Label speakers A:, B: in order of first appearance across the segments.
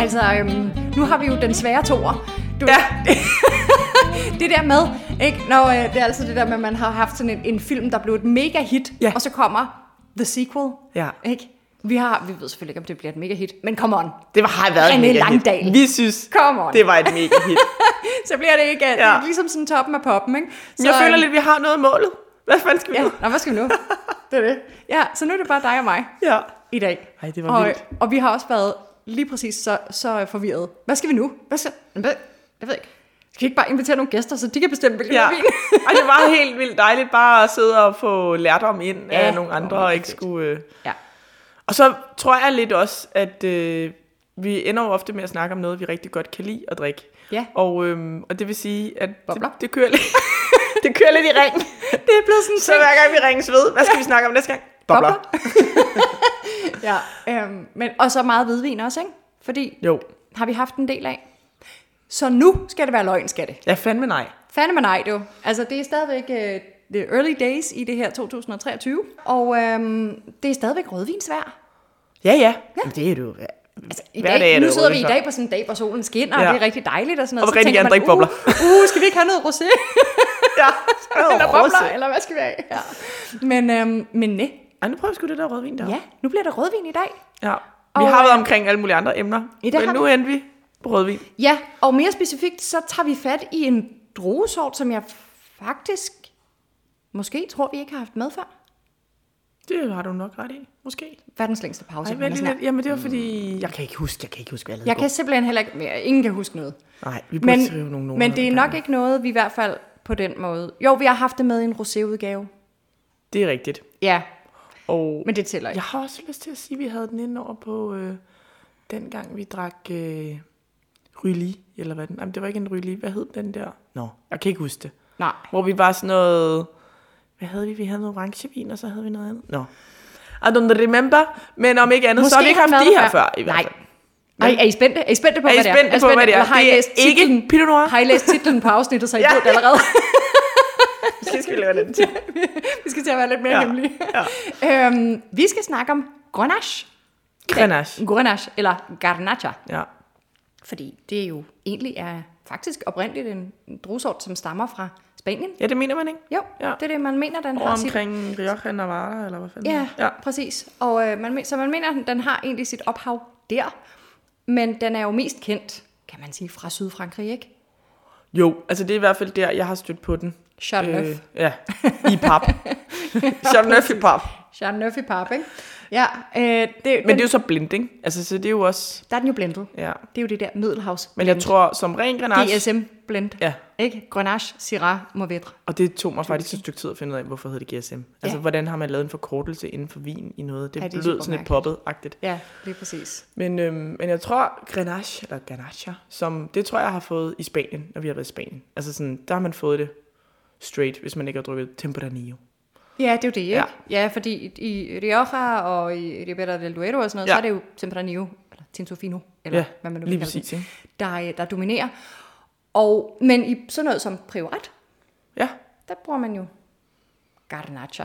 A: Altså, øhm, nu har vi jo den svære toer. Du, ja. det der med, ikke? Nå, øh, det er altså det der med, at man har haft sådan en, en film, der blev et mega hit,
B: Ja.
A: og så kommer the sequel,
B: Ja.
A: ikke? Vi har, vi ved selvfølgelig ikke, om det bliver et mega hit, men come on,
B: Det var- har været
A: René
B: et mega
A: Langdal.
B: hit. Vi synes,
A: Come on.
B: det var et mega hit.
A: så bliver det ikke ja. det
B: Ja.
A: er ligesom sådan toppen af poppen, ikke? Så,
B: Men jeg føler
A: øhm,
B: lidt, vi har noget af målet. Hvad fanden skal vi
A: Ja,
B: nu?
A: nå, hvad skal vi nu? det er det. Ja, så nu er det bare dig og mig
B: Ja.
A: i dag.
B: Ej, det var
A: og,
B: vildt.
A: Og vi har også været lige præcis så, så forvirret. Hvad skal vi nu? Hvad skal, hvad, jeg ved ikke. Skal vi ikke bare invitere nogle gæster, så de kan bestemme, hvilken
B: ja.
A: ja. vin?
B: Og det var helt vildt dejligt bare at sidde og få lærdom ind
A: Ja,
B: af nogle
A: det var
B: andre,
A: mega
B: og ikke
A: fedt.
B: skulle... Øh,
A: ja.
B: Og så tror jeg lidt også, at øh, vi ender jo ofte med at snakke om noget, vi rigtig godt kan lide at drikke.
A: Ja.
B: Og, øhm, og det vil sige, at det,
A: Bobler.
B: det, kører lidt, det kører lidt i ring.
A: Det er blevet sådan en
B: Så hver gang vi ringes ved, hvad skal vi snakke om næste gang?
A: ja, øhm, men, og så meget hvidvin også, ikke? Fordi
B: Jo.
A: har vi haft en del af. Så nu skal det være løgn, skal det.
B: Ja, fandme nej.
A: Fanden med nej, du. Altså, det er stadigvæk øh, the early days i det her 2023. Og øhm, det er stadigvæk rødvinsvær.
B: Ja, ja. Jamen, det er du. Ja.
A: Altså, i
B: Hver
A: dag,
B: dag er
A: nu
B: det
A: sidder vi i
B: rødvinsvær.
A: dag på sådan en dag, hvor solen skinner,
B: Ja.
A: og det er rigtig dejligt og sådan
B: Og
A: noget.
B: vil rigtig gerne
A: tænker man,
B: drikke
A: uh, uh, skal vi ikke have noget rosé
B: ja.
A: eller
B: Åh,
A: bobler,
B: Rose.
A: eller hvad skal vi have? Ja. Men, øhm, men nej.
B: Ej, nu prøver vi sgu det der rødvin der.
A: Ja, nu bliver der rødvin i dag.
B: ja. Vi
A: Og,
B: har været
A: øh,
B: omkring alle mulige andre emner.
A: Ja, det
B: men
A: har
B: nu endte vi på rødvin.
A: Ja, og mere specifikt, så tager vi fat i en druesort, som jeg faktisk måske tror, vi ikke har haft med før.
B: Det har du nok ret i, måske.
A: Verdens længste pause.
B: Ej,
A: man er
B: vent lige
A: sådan
B: lidt. Jamen, det var fordi... Jeg kan ikke huske, jeg kan ikke huske, hvad Mm. jeg
A: her.
B: lavede
A: jeg kan simpelthen heller ikke, mere. ingen kan huske noget.
B: Nej, vi burde
A: Men,
B: skrive nogle noter.
A: men det er
B: hver
A: nok
B: gang.
A: ikke noget, vi i hvert fald på den måde... Jo, vi har haft det med i en roséudgave.
B: Det er rigtigt.
A: Ja,
B: Og
A: men det tæller ikke.
B: jeg har også lyst til at sige, at vi havde den inde over på øh, den gang, vi drak øh, Ryli, eller hvad den... Jamen, det var ikke en Ryli. Hvad hed den der? Nå, jeg kan ikke huske det.
A: Nej.
B: Hvor vi var sådan noget... Hvad havde vi? Vi havde noget orangevin, og så havde vi noget andet. Nå. I don't remember, men om ikke andet, Måske så har vi ikke haft de her før. I hvert
A: Nej.
B: fald.
A: Nej, er I spændte? Er I spændte på,
B: Er I
A: hvad det er?
B: spændte på, hvad det er?
A: Eller Har I
B: Det er
A: læst
B: ikke
A: titlen?
B: Pinot Noir.
A: Har I læst titlen på afsnittet, så I
B: Ja.
A: ved det allerede?
B: Måske skal vi lave den til.
A: vi skal til at være lidt mere
B: Ja.
A: hemmelige. Ja. øhm, vi skal snakke om grenache.
B: Grenache.
A: Grenache, eller garnacha.
B: Ja.
A: Fordi det er jo egentlig er faktisk oprindeligt en en druesort, som stammer fra Spanien.
B: ja, det mener man ikke.
A: Jo, ja.
B: Ja.
A: det er det, man mener, den
B: Over
A: har sit
B: omkring Rioja Navarra, eller hvad fanden?
A: Ja,
B: det er.
A: ja. præcis. Og øh, man, men- så man mener, at den har egentlig sit ophav der. Men den er jo mest kendt, kan man sige, fra Sydfrankrig, ikke?
B: Jo, altså det er i hvert fald der, jeg har stødt på den.
A: Chateauneuf. Øh.
B: ja, i pap. Chateauneuf i pap.
A: Chateauneuf i pap, ikke? Ja, øh, det, den,
B: Men det er jo så blending. Altså, så det er jo også...
A: der er den jo blendet.
B: Ja.
A: Det er jo det der Middelhavs
B: Men jeg tror, som ren grenache...
A: GSM-blend.
B: Ja,
A: Ikke? Grenache, Syrah, Mourvedre.
B: og det tog mig faktisk et stykke tid at finde ud af, hvorfor hedder det GSM. Altså,
A: Ja.
B: hvordan har man lavet en forkortelse inden for vin i noget? Det,
A: Ja, det er
B: lød sådan lidt
A: supermærkeligt.
B: poppet-agtigt.
A: Ja, lige præcis.
B: Men, øhm, men jeg tror, grenache, eller ganache, som, det tror jeg, jeg har fået i Spanien, når vi har været i Spanien. Altså sådan, der har man fået det straight, hvis man ikke har drukket Temperanillo.
A: Ja, det er jo det, ikke? Ja,
B: Ja.
A: ja fordi i i Rioja og i Ribera del Duero og sådan noget, ja.
B: Ja.
A: så er det jo Tempranillo, eller Tinto eller ja,
B: Ja,
A: hvad man nu vil
B: lige
A: kalde den.
B: præcis, ikke?
A: der, øh, der dominerer. Og, men i sådan noget som priorat,
B: Ja,
A: der bruger man jo garnacha.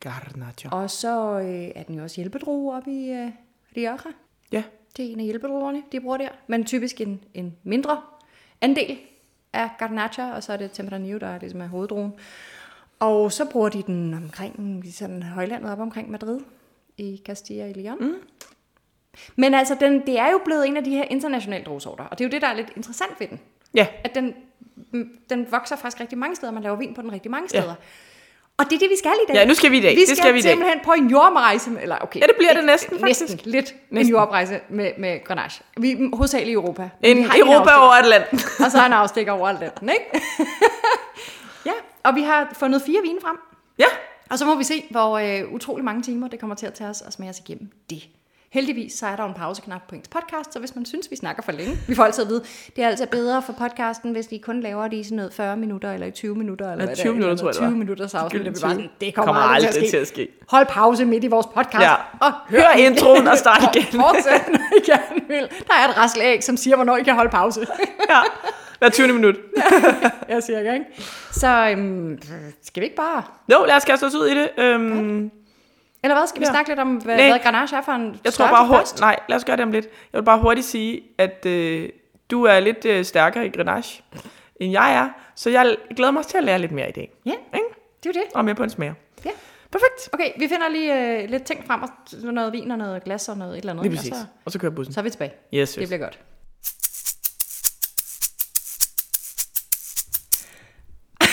B: garnacha.
A: Og så øh, er den jo også hjælpedrue oppe i øh, Rioja.
B: Ja,
A: Det er en af hjælpedruerne, de bruger der. Men typisk en, en mindre andel af garnacha, og så er det Tempranillo, der er ligesom er hoveddruen. Og så bruger de den omkring i sådan højlandet op omkring Madrid i Castilla og Leon. Mm. Men altså, den, det er jo blevet en af de her internationale druesorter, og det er jo det, der er lidt interessant ved den.
B: ja,
A: at den, mm, den vokser faktisk rigtig mange steder. Man laver vin på den rigtig mange steder. Ja. Og det er det, vi skal i dag.
B: Ja, nu skal vi i dag.
A: Vi
B: Det
A: skal,
B: skal vi i dag.
A: simpelthen på en jordrejse. med- Eller, okay,
B: Ja, det bliver det
A: ikke-
B: næsten, faktisk.
A: Næsten lidt en
B: Næsten.
A: jordrejse med, med Grenache. Vi er hovedsageligt i Europa.
B: En
A: Vi har en
B: Europa
A: afstikker.
B: over Atlanten.
A: Og så en afstikker over Atlanten, ikke? ja, og vi har fundet fire vine frem.
B: ja.
A: Og så må vi se, hvor øh, utrolig mange timer det kommer til at tage os og smage os igennem det. Heldigvis så er der jo en pauseknap på ens podcast, så hvis man synes, vi snakker for længe, vi får altid at vide, det er altså bedre for podcasten, hvis de kun laver det i sådan noget 40 minutter eller i 20 minutter. Eller
B: Ja,
A: hvad
B: 20
A: det er,
B: minutter,
A: eller noget
B: tror jeg, det var.
A: 20 minutters afsnit, og vi
B: Gyldent
A: bare sådan,
B: 20.
A: det kommer, kommer aldrig, til at, ske. Hold pause midt i vores podcast
B: Ja.
A: og
B: Hør introen og start igen.
A: Fortsæt, når I gerne vil. Der er et raslæg, som siger, hvornår I kan holde pause.
B: ja. Hver 20. minut.
A: Jeg siger ikke, ikke? Så øhm, skal vi ikke bare...
B: Jo, lad os kaste os ud i det. Øhm,
A: Eller hvad? Skal vi
B: Ja.
A: ja. snakke lidt om, hvad,
B: Nej.
A: hvad Grenache er for en
B: Jeg tror
A: størrelse
B: bare
A: først?
B: hurtigt... Nej, lad os gøre det om lidt. Jeg vil bare hurtigt sige, at øh, du er lidt øh, stærkere i Grenache, end jeg er. Så jeg glæder mig også til at lære lidt mere i dag.
A: Ja,
B: Ikke?
A: det er jo det.
B: Og mere på en smager.
A: Ja.
B: Perfekt.
A: Okay, vi finder lige øh, lidt ting frem, og s- noget vin og noget glas og noget et eller andet.
B: Lige
A: og
B: præcis.
A: så,
B: Og så kører bussen.
A: så er vi tilbage.
B: Yes,
A: Det
B: yes.
A: bliver godt.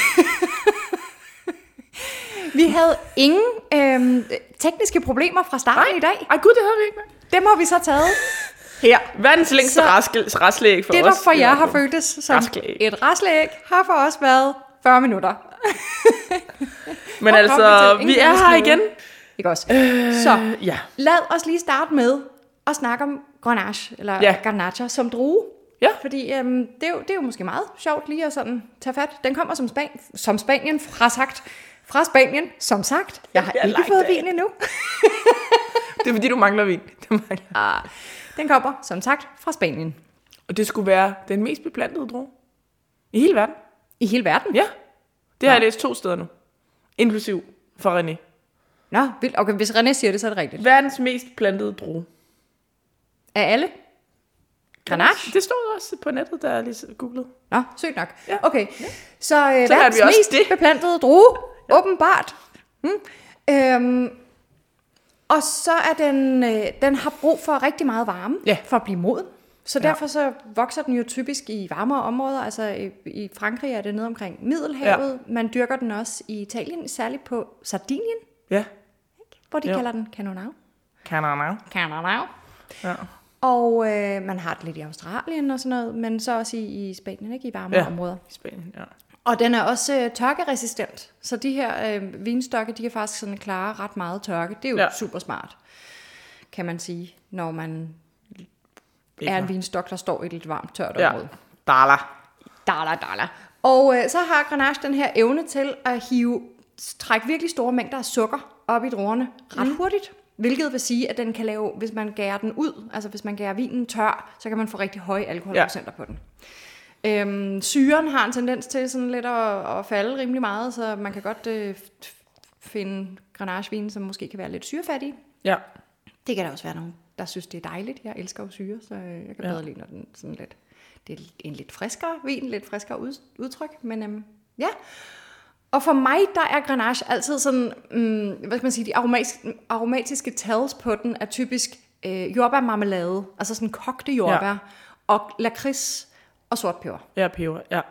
A: vi havde ingen øhm, tekniske problemer fra starten Nej. i dag.
B: Ej gud, det havde vi ikke med.
A: Dem har vi så taget.
B: Her. Verdens længste
A: Så-
B: raske- raslæg for
A: Det,
B: os.
A: der for jer har
B: fået.
A: føltes som
B: Rasleæg.
A: et raslæg, har for os været 40 minutter.
B: Men
A: Hvor
B: altså,
A: kom vi til?
B: vi
A: Ingen
B: er
A: vidste
B: her
A: noget.
B: igen.
A: Ikke også? Så
B: Øh, ja.
A: lad os lige starte med at snakke om Grenache, eller
B: Ja.
A: ja. Garnacha som drue.
B: Ja.
A: Fordi øhm, det, er jo, det er jo måske meget sjovt lige at sådan tage fat. Den kommer som, Span som Spanien fra sagt. Fra Spanien, som sagt. Jeg har
B: Jeg
A: ikke
B: like
A: fået
B: det.
A: vin endnu.
B: Det er fordi, du mangler vin. Det mangler.
A: Ah, Den kommer, som sagt, fra Spanien.
B: Og det skulle være den mest beplantede drue i hele verden.
A: I hele verden.
B: Ja. Det har jeg læst to steder nu. Inklusiv for René.
A: Nå, vildt. Okay, hvis René siger det, så er det rigtigt.
B: Verdens mest plantede drue.
A: Af alle? Grenache?
B: Det stod også på nettet, da jeg lige googlede.
A: Nå, sødt nok.
B: Ja.
A: Okay, så, øh, verdens
B: vi også
A: mest
B: det.
A: beplantede drue, åbenbart. Mm. Øhm, og så er den, øh, den har brug for rigtig meget varme
B: Ja.
A: for at blive moden. Så ja. derfor så vokser den jo typisk i varmere områder. Altså i, i Frankrig er det nede omkring Middelhavet. Ja. Man dyrker den også i Italien, særligt på Sardinien,
B: Ja.
A: hvor de
B: Jo.
A: jo. kalder den Canonau.
B: Kan man
A: Canonau.
B: Ja.
A: Og øh, man har det lidt i Australien og sådan noget, men så også i, i Spanien, ikke? I varmere
B: Ja.
A: ja. områder.
B: I Spanien, ja.
A: Og den er også øh, tørkeresistent, så de her øh, vinstokke, de kan faktisk sådan klare ret meget tørke. Det er jo
B: Ja.
A: ja. super smart, kan man sige, når man
B: Ikke
A: er en
B: nok.
A: vinstok, der står i et lidt varmt tørt
B: Ja.
A: område.
B: Dala.
A: Dala, dala. Og øh, så har Grenache den her evne til at hive, trække virkelig store mængder af sukker op i druerne ret mm. hurtigt. Hvilket vil sige, at den kan lave, hvis man gærer den ud, altså hvis man gærer vinen tør, så kan man få rigtig høje alkoholprocenter ja. på den. Øhm, syren har en tendens til sådan lidt at, at falde rimelig meget, så man kan godt øh, f- finde granagevine, som måske kan være lidt syrefattige.
B: Ja.
A: Det kan der også være nogen, der synes, det er dejligt. Jeg elsker jo syre, så øh, jeg kan
B: Ja.
A: bedre lide, når den sådan lidt... Det er en lidt friskere vin, lidt friskere ud, udtryk, men øhm, ja. Og for mig, der er Grenache altid sådan, mm, hvad skal man sige, de aromatiske, aromatiske tals på den er typisk øh, jordbærmarmelade, altså sådan kogte jordbær, ja. og lakrids og sort peber.
B: Ja, peber. Ja.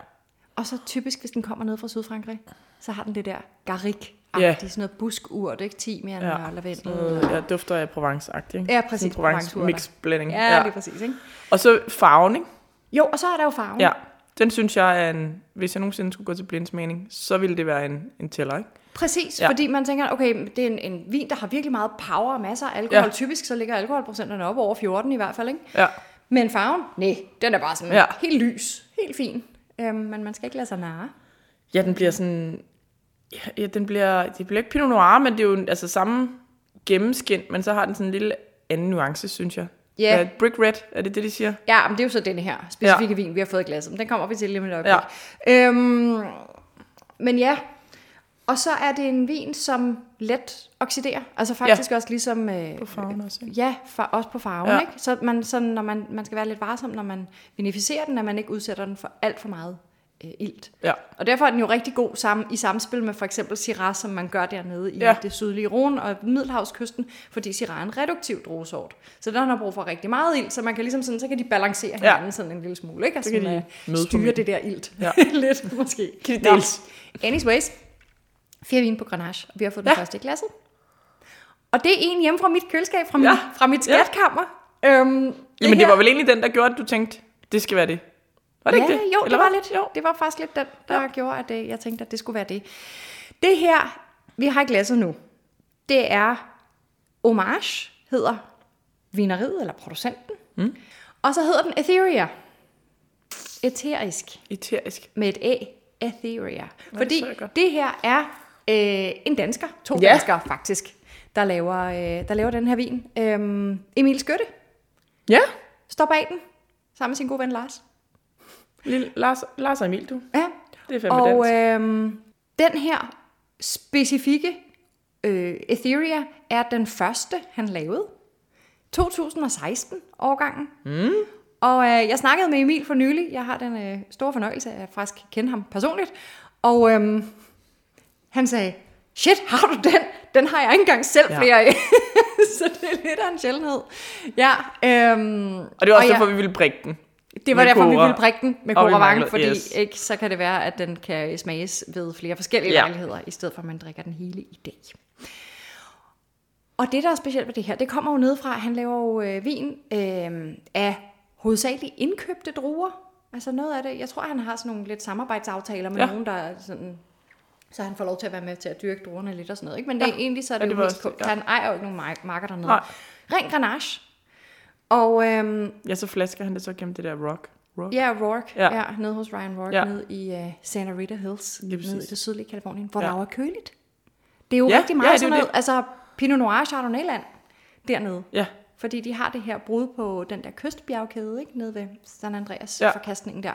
A: Og så typisk, hvis den kommer ned fra Sydfrankrig, så har den det der garik
B: Ja.
A: ja. sådan noget buskurt, ikke? Timian
B: Ja.
A: ja. og lavendel.
B: Noget, ja, Øh, dufter af Provence-agtigt. ikke?
A: Ja, præcis,
B: Sådan Provence
A: Provence-urter.
B: mix blending.
A: Ja, ja, lige Mhm. præcis, ikke?
B: Og så farven, ikke?
A: Jo, og så er der jo farven.
B: Ja. Den synes jeg er en... Hvis jeg nogensinde skulle gå til blindsmagning, så ville det være en, en tæller, ikke?
A: Præcis,
B: Ja.
A: ja. fordi man tænker, okay, det er en, en vin, der har virkelig meget power og masser af alkohol.
B: Ja.
A: Ja. Typisk så ligger alkoholprocenterne op over 14 i hvert fald, ikke?
B: Ja.
A: Men farven, nej, den er bare sådan
B: Ja.
A: ja. helt lys, helt fin. Øhm, men man skal ikke lade sig narre.
B: Ja, den bliver sådan... Ja, Ja, den bliver... Det bliver ikke Pinot Noir, men det er jo en- altså samme gennemskin, men så har den sådan en lille anden nuance, synes jeg.
A: Ja.
B: Hvad er det? Brick Red, er det det, de siger?
A: Ja, men det er jo så den her specifikke ja. vin, vi har fået i glasset. Men Den kommer vi til lige om et øjeblik. Ja. Øhm, men ja, og så er det en vin, som let oxiderer. Altså faktisk ja. også ligesom... Øh,
B: På farven også, ikke?
A: Ja, for, også på farven.
B: Ja.
A: Ja. Ikke? Så man, sådan, når man, man skal være lidt varsom, når man vinificerer den, at man ikke udsætter den for alt for meget øh, ilt.
B: Ja.
A: Og derfor er den jo rigtig god sammen, i samspil med for eksempel Syrah, som man gør dernede i
B: Ja.
A: ja. det sydlige Rhône og Middelhavskysten, fordi Syrah er en reduktiv druesort. Så den har brug for rigtig meget ilt, så man kan ligesom sådan, så kan de balancere hinanden ja. sådan en lille smule, ikke? Og
B: Så kan
A: sådan,
B: de
A: øh,
B: mødes på
A: styre
B: midten.
A: det der ilt
B: Ja.
A: ja. lidt, måske.
B: Kan de
A: Nå.
B: deles?
A: Anyways, fire vin på Grenache, og vi har fået den
B: Ja.
A: første i glasset. Og det er en hjemme fra mit køleskab, fra, min,
B: Ja.
A: ja. fra mit
B: Ja.
A: skatkammer. Øhm,
B: Jamen, det
A: her-
B: var vel egentlig den, der gjorde, at du tænkte, det skal være det. Var det
A: ja,
B: ikke det?
A: Jo,
B: Eller
A: det var
B: hvad?
A: lidt.
B: Jo.
A: Jo. Det var faktisk lidt den, der ja. gjorde, at øh, jeg tænkte, at det skulle være det. Det her, vi har i glasset nu, det er Homage, hedder vineriet eller producenten. Mm. Og så hedder den Etheria. Eterisk
B: Eterisk.
A: med et A. Etheria.
B: så
A: Fordi
B: er det godt.
A: det her er øh, en dansker, to
B: Ja.
A: ja. danskere faktisk, der laver, øh, der laver den her vin. Øhm, Emil Skytte
B: Ja.
A: står bag den, sammen med sin gode ven Lars.
B: Lille Lars, Lars og Emil, du.
A: Ja,
B: Det er fandme
A: Og øh,
B: dansk.
A: øhm, den her specifikke Øh, Etheria er den første, han lavede. 2016 årgangen. Mm. Og øh, jeg snakkede med Emil for nylig. Jeg har den øh, store fornøjelse af at faktisk kende ham personligt. Og øhm, han sagde, shit, har du den? Den har jeg ikke engang selv
B: Ja.
A: ja. flere af. så det er lidt af en sjældenhed. Ja, øhm,
B: Og det var også
A: jeg-
B: derfor, vi ville brække den.
A: det var
B: Med
A: derfor, vi
B: Cora.
A: ville prikke den med
B: Og vi
A: Cora Vang,
B: manglede-
A: fordi
B: yes.
A: yes. ikke, så kan det være, at den kan smages ved flere forskellige
B: Ja.
A: ja. lejligheder, i stedet for at man drikker den hele i dag. Og det, der er specielt ved det her, det kommer jo nedefra, at han laver jo øh, vin øh, af hovedsageligt indkøbte druer. Altså noget af det, jeg tror, han har sådan nogle lidt samarbejdsaftaler med
B: Ja.
A: ja. nogen, der er sådan, så han får lov til at være med til at dyrke druerne lidt og sådan noget. Ikke? Men det, er egentlig så er det,
B: det
A: ja,
B: var
A: det
B: også det, ja.
A: han ejer jo ikke nogen mark- marker dernede.
B: Nej.
A: Nej. Ren Grenache. Og øhm,
B: Ja, så flasker han det så gennem det der rock. rock.
A: Ja, Rourke.
B: Ja.
A: Ja. ja nede hos Ryan Rourke,
B: Ja.
A: ja. nede i uh, Santa Rita Hills,
B: Lige
A: nede i
B: præcis.
A: det sydlige Kalifornien, hvor
B: Ja.
A: ja. der jo er køligt. Det er jo
B: Ja,
A: ja. rigtig meget
B: ja, det er jo
A: ja, sådan noget, altså Pinot Noir Chardonnayland dernede.
B: Ja,
A: Fordi de har det her brud på den der kystbjergkæde, ikke? Nede ved San Andreas
B: Ja.
A: ja. forkastningen der.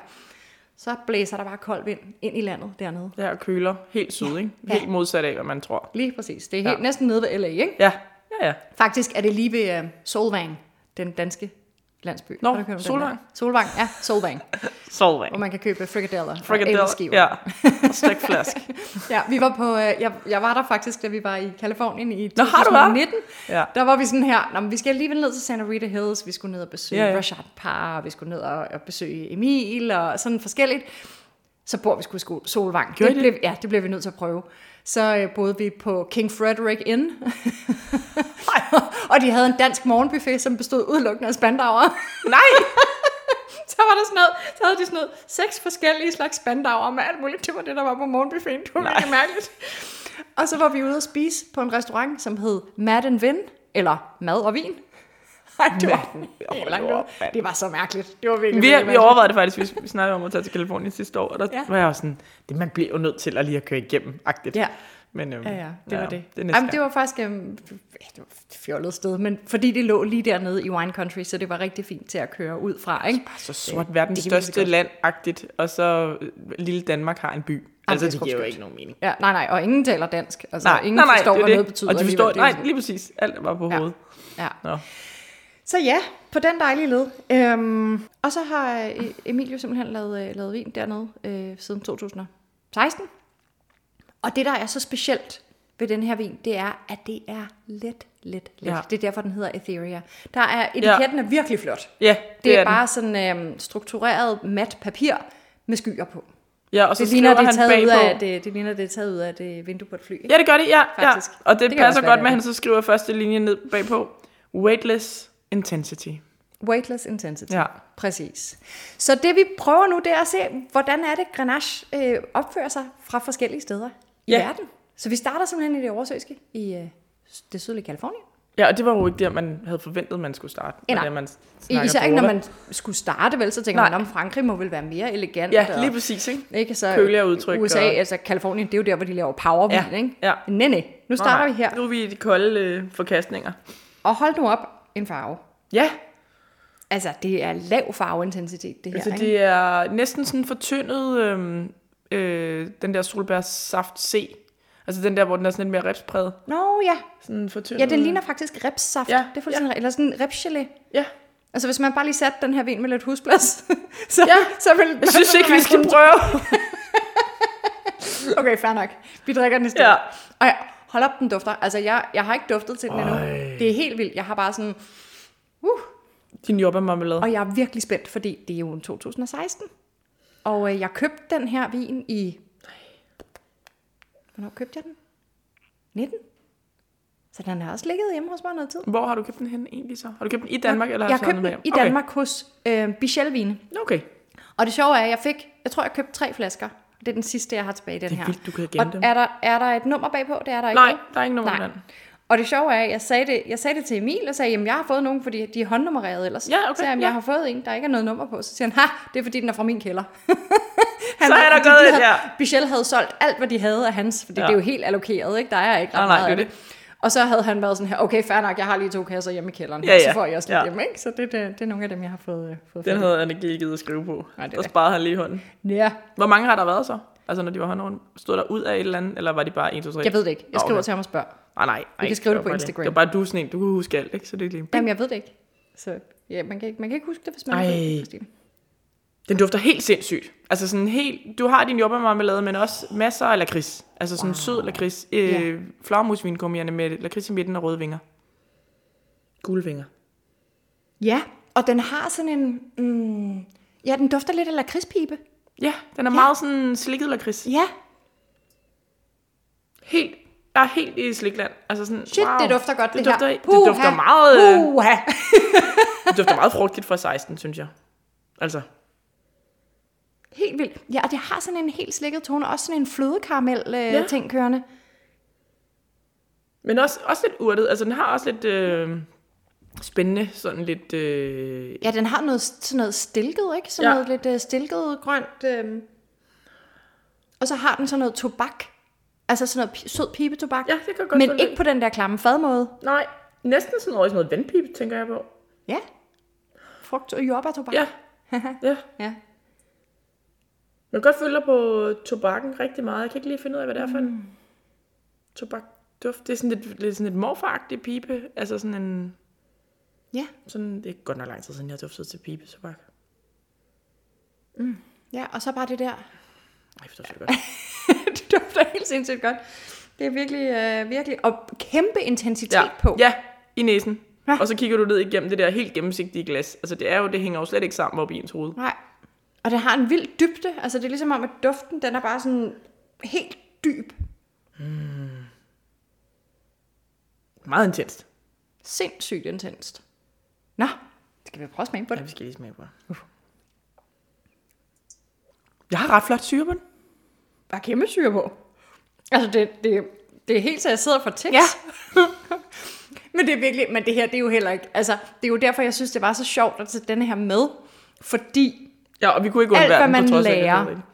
A: Så blæser der bare kold vind ind i landet dernede.
B: ja og køler. Helt syd, ikke?
A: Ja.
B: Helt modsat af, hvad man tror.
A: Lige præcis. Det er helt, ja. næsten nede ved LA, ikke?
B: Ja, ja, ja.
A: Faktisk er det lige ved uh, Solvang, den danske landsby.
B: Nå,
A: Har du hørt om den der?
B: Solvang.
A: Solvang, ja, Solvang.
B: Solvang.
A: hvor man kan købe frikadeller, frikadeller og
B: Frikadelle.
A: æbleskiver.
B: Ja, og stikflask.
A: Ja, vi var på, øh, jeg, jeg var der faktisk, da vi var i Kalifornien i
B: Nå, har du været?
A: 2019.
B: Ja.
A: Der var vi sådan her, Nå, men vi skal alligevel ned til Santa Rita Hills, vi skulle ned og besøge
B: Ja,
A: ja,
B: ja.
A: ja. Rashad Parr, og vi skulle ned og, og besøge Emil, og sådan forskelligt. Så bor vi sgu i sko- Solvang.
B: Gjorde I
A: det?
B: det?
A: Blev, ja, det blev vi nødt til at prøve. Så øh, boede vi på King Frederick Inn, og de havde en dansk morgenbuffet, som bestod udelukkende af spandauer.
B: Nej!
A: Så var der sådan noget, så havde de sådan noget, seks forskellige slags spandauer med alt muligt. Det var det, der var på morgenbuffeten. Det var
B: Nej.
A: virkelig mærkeligt. Og så var vi ude at spise på en restaurant, som hed Mad and Vin, eller Mad og Vin. Ej, det var,
B: Mad-
A: helt
B: Hold
A: langt
B: nu
A: ud.
B: op, mand.
A: det var så mærkeligt. Det var virkelig,
B: Vi,
A: virkelig
B: vi
A: mærkeligt.
B: overvejede det faktisk, vi, vi snakkede om at tage til Kalifornien sidste år, og der ja.
A: Ja.
B: var jeg også sådan, det man bliver jo nødt til at lige at køre igennem, agtigt.
A: Ja.
B: Men, øhm,
A: Ja, ja, det var det.
B: Det er næste
A: Jamen, det var faktisk øhm, ja, det var et fjollet sted, men fordi det lå lige dernede i Wine Country, så det var rigtig fint til at køre ud fra, ikke?
B: Så sort verdens
A: Det kan vi
B: største
A: godt.
B: land-agtigt, og så øh, lille Danmark har en by. altså,
A: det
B: det
A: er sgu
B: giver jo
A: skønt.
B: ikke nogen mening.
A: Ja, nej, nej, og ingen taler dansk. Altså,
B: Nej,
A: ingen
B: nej, nej,
A: forstår,
B: det er
A: hvad
B: det.
A: noget betyder.
B: Og de
A: alligevel.
B: forstår,
A: Det er jo
B: nej, lige præcis, alt var på hovedet.
A: sådan- Ja.
B: Nå.
A: Så ja, på den dejlige led. Øhm, og så har øh, Emil jo simpelthen lavet, øh, lavet vin dernede øh, siden 2016. Og det, der er så specielt ved den her vin, det er, at det er let, let, let.
B: Ja.
A: Ja. Det er derfor, den hedder Etheria. Der er, etiketten ja. er virkelig flot.
B: Ja,
A: Det, det er,
B: den.
A: bare sådan øh, struktureret mat papir med skyer på.
B: Ja, og så
A: Det ligner,
B: skriver
A: det er
B: han
A: taget ud
B: bagpå.
A: af, det, det ligner, det er taget ud af det vindue på et fly. Ikke?
B: Ja, det gør det, ja. ja.
A: Faktisk.
B: Og det,
A: Det
B: det
A: kan
B: passer
A: også være,
B: godt
A: det
B: med, at
A: er
B: han så skriver første linje ned bagpå. Weightless intensity.
A: Weightless intensity.
B: Ja.
A: Præcis. Så det vi prøver nu, det er at se, hvordan er det, Grenache øh, opfører sig fra forskellige steder i
B: Ja.
A: verden. Så vi starter simpelthen i det oversøiske i øh, det sydlige Kalifornien.
B: Ja, og det var jo ikke der, man havde forventet, man skulle starte.
A: Ja,
B: når
A: nej.
B: det er, man
A: I,
B: snakker
A: især ikke, når
B: Europa.
A: man skulle starte, vel, så tænker
B: Nej.
A: man, om Frankrig må vel være mere elegant.
B: Ja,
A: og-
B: lige præcis, ikke?
A: ikke? Så
B: køligere udtryk
A: USA,
B: og-
A: altså Kalifornien, det er jo der, hvor de laver powervin,
B: Ja,
A: ikke?
B: ja.
A: Nej, nej. Nu starter
B: Nej,
A: vi her.
B: Nu er vi i de kolde øh, forkastninger.
A: Og hold nu op en farve.
B: Ja,
A: Altså, det er lav farveintensitet, det her,
B: altså
A: ikke?
B: det er næsten sådan fortyndet, øh, øh, den der solbærsaft C. Altså den der, hvor den er sådan lidt mere ripspræget.
A: Nå ja,
B: Sådan fortyndet.
A: ja, det ligner faktisk ripssaft.
B: Mm. Ja,
A: Ja, det er fuldstændig, ja. Eller sådan en ripsgelé.
B: Ja.
A: Altså, hvis man bare lige satte den her vin med lidt husplads, så,
B: Ja.
A: ja. så vil
B: Jeg synes
A: så vil
B: ikke,
A: man
B: vi skal
A: kunne-
B: prøve.
A: Okay, fair nok. Vi drikker den i stedet.
B: Ja.
A: Ja. Og ja, hold op, den dufter. Altså, jeg, jeg har ikke duftet til den endnu.
B: Ej.
A: Det er helt vildt. Jeg har bare sådan...
B: Din jordbærmarmelade.
A: Og jeg er virkelig spændt, fordi det er jo en 2016. Og øh, jeg købte den her vin i... Hvornår købte jeg den? 19? Så den har også ligget hjemme hos mig noget tid.
B: Hvor har du købt den henne egentlig så? Har du købt den i Danmark? eller har
A: jeg
B: du
A: købte
B: taget
A: den
B: med
A: i
B: hjem?
A: Danmark okay. hos øh, Bichel Vine.
B: Okay. okay.
A: Og det sjove er, at jeg fik, jeg tror, jeg købte tre flasker. Det er den sidste, jeg har tilbage i den
B: Det er
A: her.
B: vildt, du kan gemme
A: og
B: dem.
A: er der, er der et nummer bagpå? Det er der ikke.
B: Nej,
A: vel?
B: der er ikke nummer på den.
A: Og det sjove er, at jeg sagde det, jeg sagde det til Emil, og sagde, jamen jeg har fået nogen, fordi de er håndnummererede ellers.
B: Ja, okay,
A: Så jamen,
B: ja.
A: jeg har fået en, der ikke er noget nummer på. Så siger han, ha, det er fordi, den er fra min kælder. han
B: Så
A: ved,
B: er der
A: fordi
B: gået
A: de
B: et
A: havde-
B: her.
A: Michel havde solgt alt, hvad de havde af hans, fordi
B: Ja.
A: ja. det er jo helt allokeret, ikke? Der er ikke ret
B: Nej, nej,
A: meget
B: det er
A: af Og så havde han været sådan her, okay, fair nok, jeg har lige to kasser hjemme i kælderen,
B: Ja, ja.
A: så får jeg også lidt
B: Ja.
A: ja. hjemme, ikke? Så det, det, det, er nogle af dem, jeg har fået, øh, fået
B: Den
A: fat i.
B: havde han ikke lige givet at skrive på.
A: Nej, det er
B: og
A: det.
B: sparede han lige i hånden.
A: Ja,
B: Hvor mange har der været så? Altså når de var håndrundt, stod der ud af et eller andet, eller var de bare 1, 2, 3?
A: jeg ved det ikke. Jeg skriver okay. til ham og spørger.
B: Ah, Nej, nej. nej,
A: kan skrive
B: var
A: det på
B: bare
A: Instagram.
B: Det var bare du er sådan en, du kan huske alt, ikke? Så det er lige...
A: Jamen, jeg ved det ikke. Så ja, man kan ikke, man kan ikke huske det, hvis man
B: Ej.
A: ikke ved det, Christine.
B: Den dufter helt sindssygt. Altså sådan helt... Du har din jordbærmarmelade, men også masser af lakrids. Altså sådan wow. sød lakrids. Øh,
A: Ja.
B: yeah. Flagmusvinkummierne med lakrids i midten og røde vinger. Gule vinger.
A: Ja, og den har sådan en... Mm, ja, den dufter lidt af lakridspibe.
B: Ja, den er ja. meget sådan slikket lakrids.
A: Ja,
B: Helt... Jeg er helt i slikland. Altså sådan,
A: shit, wow. det dufter godt,
B: det
A: det,
B: dufter,
A: her.
B: Det dufter meget... Øh,
A: Puha.
B: det dufter meget frugtigt fra 16, synes jeg. Altså,
A: Helt vildt. Ja, og det har sådan en helt slikket tone. Også sådan en flødekaramel-ting
B: Ja.
A: øh, ting kørende.
B: Men også, også lidt urtet. Altså, den har også lidt øh, spændende, sådan lidt... Øh,
A: Ja, den har noget, sådan noget stilket, ikke? Sådan
B: Ja.
A: ja. noget lidt øh, stilket grønt. Øh. Og så har den sådan noget tobak. Altså sådan noget pi- sød pibetobak.
B: Ja, det kan godt
A: Men
B: være
A: ikke
B: lidt.
A: på den der klamme fadmåde.
B: nej, næsten sådan noget, sådan noget vandpipe, tænker jeg på.
A: Ja. Frugt- og jordbærtobak.
B: Ja, ja.
A: ja.
B: Man kan godt følge dig på tobakken rigtig meget. Jeg kan ikke lige finde ud af, hvad det er for
A: Mm.
B: en tobakduft. Det er sådan lidt, lidt, sådan lidt morfaragtig pipe. Altså sådan en...
A: Ja.
B: Sådan, det er godt nok lang tid siden, jeg har duftet til pipe tobak.
A: Ja, og så bare det der.
B: Ej, det er godt.
A: det dufter helt sindssygt godt. Det er virkelig, øh, virkelig, og kæmpe intensitet
B: ja.
A: på.
B: Ja, i næsen.
A: Ja.
B: Og så kigger du ned igennem det der helt gennemsigtige glas. Altså det er jo, det hænger jo slet ikke sammen op i ens hoved.
A: Nej. Og det har en vild dybde. Altså, det er ligesom om, at duften, den er bare sådan helt dyb.
B: Meget intenst.
A: Sindssygt intenst. Nå, skal vi prøve at smage på
B: Ja,
A: det?
B: vi skal lige smage på. Uh. Jeg har ret flot syre på den.
A: Der er kæmpe syre på. Altså, det, det, det er helt så, jeg sidder for tekst.
B: Ja.
A: men det er virkelig, men det her, det er jo heller ikke, altså, det er jo derfor, jeg synes, det var så sjovt at tage denne her med. Fordi
B: Ja, og vi kunne ikke undvære
A: Alt, hvad
B: den, på
A: man
B: trods af, at
A: lærer.
B: det er rigtigt.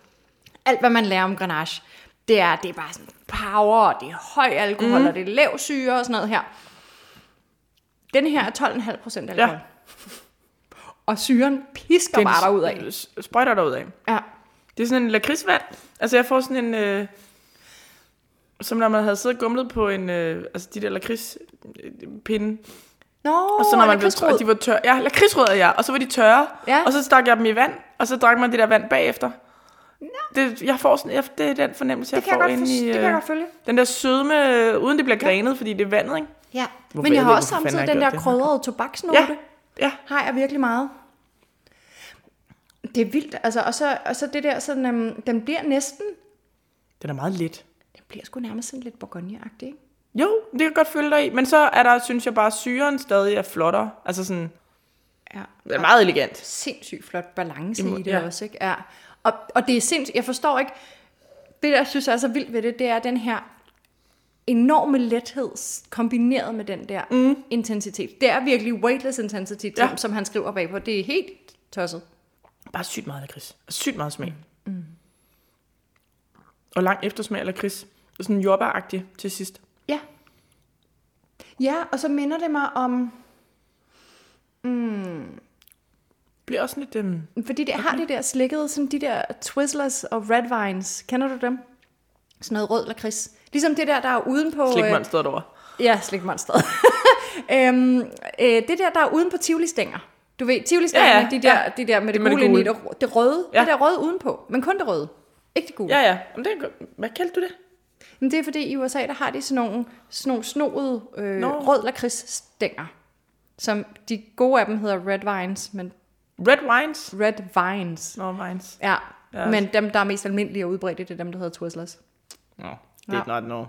A: alt, hvad man lærer om Grenache, det er, det er bare sådan power, og det er høj alkohol,
B: Mhm.
A: mm. og det er lav syre og sådan noget her. Denne her er 12,5 procent alkohol.
B: Ja.
A: Ja. Og syren pisker
B: Den
A: bare derud af.
B: s- Sprøjter derudad.
A: Ja.
B: Det er sådan en lakridsvand. Altså, jeg får sådan en... Øh, som når man havde siddet og gumlet på en... Øh, altså, de der lakridspinde.
A: Nå,
B: Og så når man blev tør, de var tørre. Ja, lakridsrødder, ja. Og så var de tørre.
A: Ja.
B: Og så stak jeg dem i vand, og så drak man det der vand bagefter. Det, jeg får sådan, jeg, det er den fornemmelse,
A: det
B: jeg
A: kan, jeg
B: får
A: godt
B: inde
A: forst-
B: i...
A: det kan jeg
B: øh,
A: godt følge.
B: Den der sødme, øh, uden det bliver grenet, fordi det er vandet, ikke?
A: Ja.
B: Hvorfor
A: Men jeg
B: jeg
A: har
B: ved,
A: også
B: hvorfor fanden
A: samtidig
B: har
A: den
B: jeg
A: der
B: gjort det?
A: krødrede tobaksnote.
B: Ja. Ja.
A: Har jeg virkelig meget. Det er vildt. Altså, og, så, og så det der, sådan, øhm, den bliver næsten...
B: Den er meget let.
A: Den bliver sgu nærmest sådan lidt bourgogne-agtig, ikke?
B: Jo, det kan jeg godt følge dig i. Men så er der, synes jeg bare, syren stadig er flottere. Altså sådan,
A: Ja.
B: den er meget elegant.
A: sindssygt flot balance
B: Imod-
A: i det
B: ja.
A: ja. også, ikke? Ja. Og, og det er sindssygt, jeg forstår ikke, det der, jeg synes er så vildt ved det, det er den her enorme lethed s- kombineret med den der mm. intensitet. Det er virkelig weightless intensity, ja.
B: Ja.
A: som, som han skriver bagpå. Det er helt tosset.
B: Bare sygt meget lakrids. Og Sygt meget smag. Mm. Og lang eftersmag af lakrids. Og Sådan jordbæragtig til sidst.
A: Ja. Ja, og så minder det mig om,
B: Bliver også lidt... Øhm,
A: fordi det har det der slikkede, sådan de der Twizzlers og Red Vines. Kender du dem? Sådan noget rød lakrids. Ligesom det der, der er uden på... øh,
B: slikmonstret over.
A: Ja, slikmonstret. øhm, øh, det der, der er uden på Tivoli-stænger. Du ved, Tivoli-stængerne,
B: Ja,
A: ja,
B: ja,
A: ja, de, der,
B: ja.
A: de der med det,
B: med
A: det
B: det
A: gule,
B: gule.
A: gule. Det, det røde.
B: Ja.
A: Ja. Det der røde udenpå, men kun det røde. Ikke det gule.
B: Ja,
A: Ja.
B: ja. Jamen, det er, godt. hvad kaldte du det?
A: Men det er fordi, i USA, der har de sådan nogle, sådan nogle snoede øh,
B: Nå.
A: rød lakridsstænger. Som de gode af dem hedder red vines, men
B: Red wines?
A: red vines.
B: Nå, wines.
A: Ja,
B: Ja.
A: ja men dem, der er mest almindelige og udbredte, det er dem, der hedder Twizzlers.
B: Nå,
A: Ja.
B: did not know.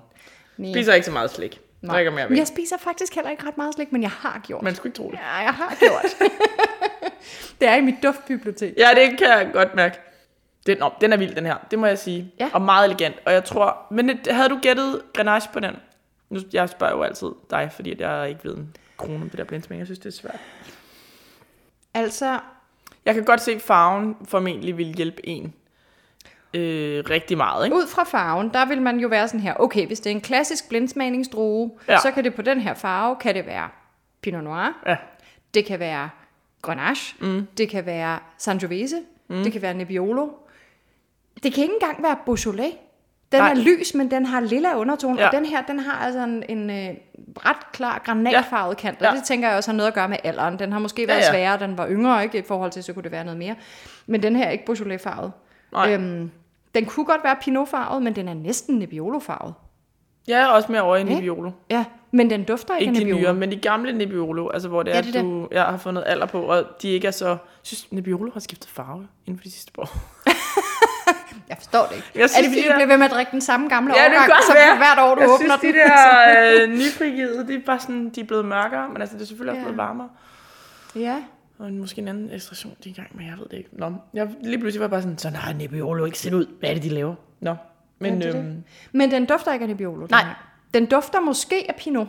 A: Nej.
B: Spiser ikke så meget slik.
A: Nej.
B: Drikker mere
A: Men
B: væk.
A: Jeg spiser faktisk heller ikke ret meget slik, men jeg har gjort.
B: Man skulle ikke tro det.
A: Ja, jeg har gjort. det er i mit duftbibliotek.
B: Ja, det kan jeg godt mærke. Den, nå, den er vild, den her. Det må jeg sige.
A: Ja.
B: Og meget elegant. Og jeg tror... Men det, havde du gættet Grenache på den? Nu, jeg spørger jo altid dig, fordi at jeg ikke ved en krone om det der blindsmæng. Jeg synes, det er svært.
A: Altså,
B: Jeg kan godt se, at farven formentlig vil hjælpe en øh, rigtig meget. Ikke?
A: ud fra farven, der vil man jo være sådan her, okay, hvis det er en klassisk blindsmagningsdrue,
B: Ja.
A: ja. så kan det på den her farve, kan det være Pinot Noir,
B: Ja.
A: det kan være Grenache, mm. det kan være Sangiovese, mm. det kan være Nebbiolo. Det kan ikke engang være Beaujolais. Den
B: Nej.
A: Nej. er lys, men den har lilla undertone,
B: Ja.
A: ja. og den her, den har altså en, en øh, ret klar granatfarvet kant, og
B: Ja.
A: ja. det tænker jeg også har noget at gøre med alderen. Den har måske været
B: ja.
A: ja, ja. sværere, den var yngre, ikke? I forhold til, så kunne det være noget mere. Men den her er ikke Beaujolais-farvet.
B: Nej.
A: Øhm, den kunne godt være Pinot-farvet, men den er næsten Nebbiolo-farvet.
B: Jeg er også mere over i
A: Ikke?
B: Nebbiolo.
A: Ja, men den dufter ikke,
B: Ikke
A: af
B: de
A: Nebbiolo.
B: nyere, men de gamle Nebbiolo, altså hvor det er,
A: Ja,
B: ja,
A: det
B: det
A: er
B: du jeg har fået noget alder på, og de ikke er så... Jeg synes, Nebbiolo har skiftet farve inden for de sidste par år.
A: Jeg forstår det ikke.
B: Jeg
A: Jeg
B: synes,
A: synes, er det fordi,
B: de
A: du
B: der-
A: bliver ved med at drikke den samme gamle
B: Ja, det kan
A: årgang,
B: godt
A: som
B: være.
A: hvert år, du
B: jeg
A: åbner
B: synes, de
A: den?
B: der øh, nyfrigivede, de er bare sådan, de er blevet mørkere, men altså det er selvfølgelig også
A: Ja.
B: blevet varmere.
A: Ja.
B: Og en- måske en anden ekstraktion, de er i gang med, jeg ved det ikke. Nå, jeg, lige pludselig var jeg bare sådan, så nej, Nebbiolo ikke set ud. Hvad er det, de laver? Nå, men
A: Ja, det er
B: øhm,
A: Men den dufter ikke af Nebbiolo. den
B: Nej.
A: her. Den dufter måske af Pinot.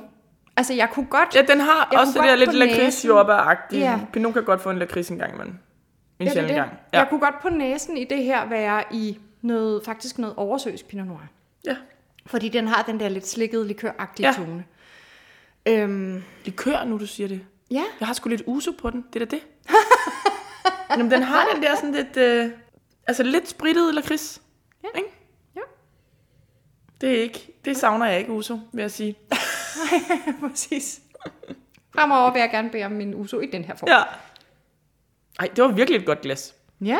A: Altså, jeg kunne godt...
B: Ja, den har
A: Jeg
B: jeg også det
A: kunne
B: der
A: godt
B: lidt
A: på
B: lakrids
A: næsen.
B: jordbær-agtige. Ja.
A: Ja.
B: Pinot kan godt få en lakrids en gang imellem. En
A: Ja, det er
B: sjældent
A: det.
B: gang.
A: Jeg kunne godt på næsen i det her være i noget, faktisk noget oversøisk Pinot Noir.
B: ja.
A: Fordi den har den der lidt slikkede, likøragtige
B: Ja.
A: ja. tone. Øhm,
B: Likør nu, du siger det.
A: ja,
B: Jeg har sgu lidt uso på den. Det er da det. Jamen, den har den der sådan lidt... Øh, altså lidt sprittede lakrids.
A: Ja.
B: Ikke?
A: Ja.
B: Det er ikke... Det savner jeg ikke, uso, vil jeg sige.
A: præcis. Fremover vil jeg gerne bede om min uso i den her form.
B: Ja. Ej, det var virkelig et godt glas.
A: ja.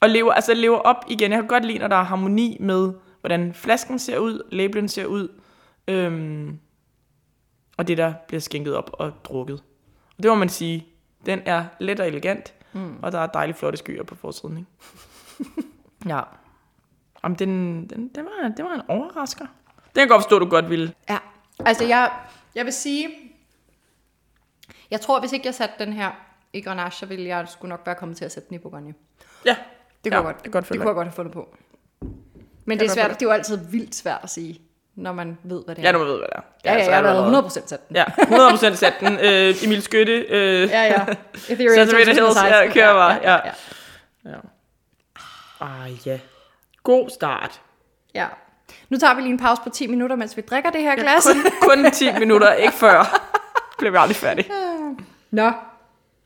B: Og lever, altså lever op igen. Jeg kan godt lide, når der er harmoni med, hvordan flasken ser ud, labelen ser ud, øhm, og det, der bliver skænket op og drukket. Og det må man sige, den er let og elegant, mm. og der er dejligt flotte skyer på forsiden. Ikke? ja. Jamen, den, den, den, var, det var en overrasker. Den kan jeg godt forstå, du godt ville.
A: Ja, altså jeg, jeg vil sige, jeg tror, hvis ikke jeg satte den her i Grenache, så ville jeg skulle nok være kommet til at sætte den i Bourgogne.
B: Ja,
A: Det kunne,
B: ja,
A: jeg, godt,
B: Jeg godt
A: det
B: følge
A: kunne jeg godt have fundet på.
B: kan
A: Men det er,
B: godt
A: svært,
B: følge
A: det er jo altid vildt svært at sige, når man ved, hvad det er.
B: Ja, du ved, hvad det er.
A: ja, ja,
B: så
A: jeg
B: er
A: har
B: det allerede-
A: været 100% sat den.
B: Ja, 100% sat den. Øh, Emil Skytte. Øh,
A: Ja, ja.
B: Så
A: Ethereum
B: det vil det helst, ja, kører bare, ja.
A: ja.
B: Ja. Ah ja. God start.
A: ja. Nu tager vi lige en pause på 10 minutter, mens vi drikker det her glas.
B: Kun, kun 10 minutter, ikke før. Bliver vi aldrig færdig.
A: Nå, skal,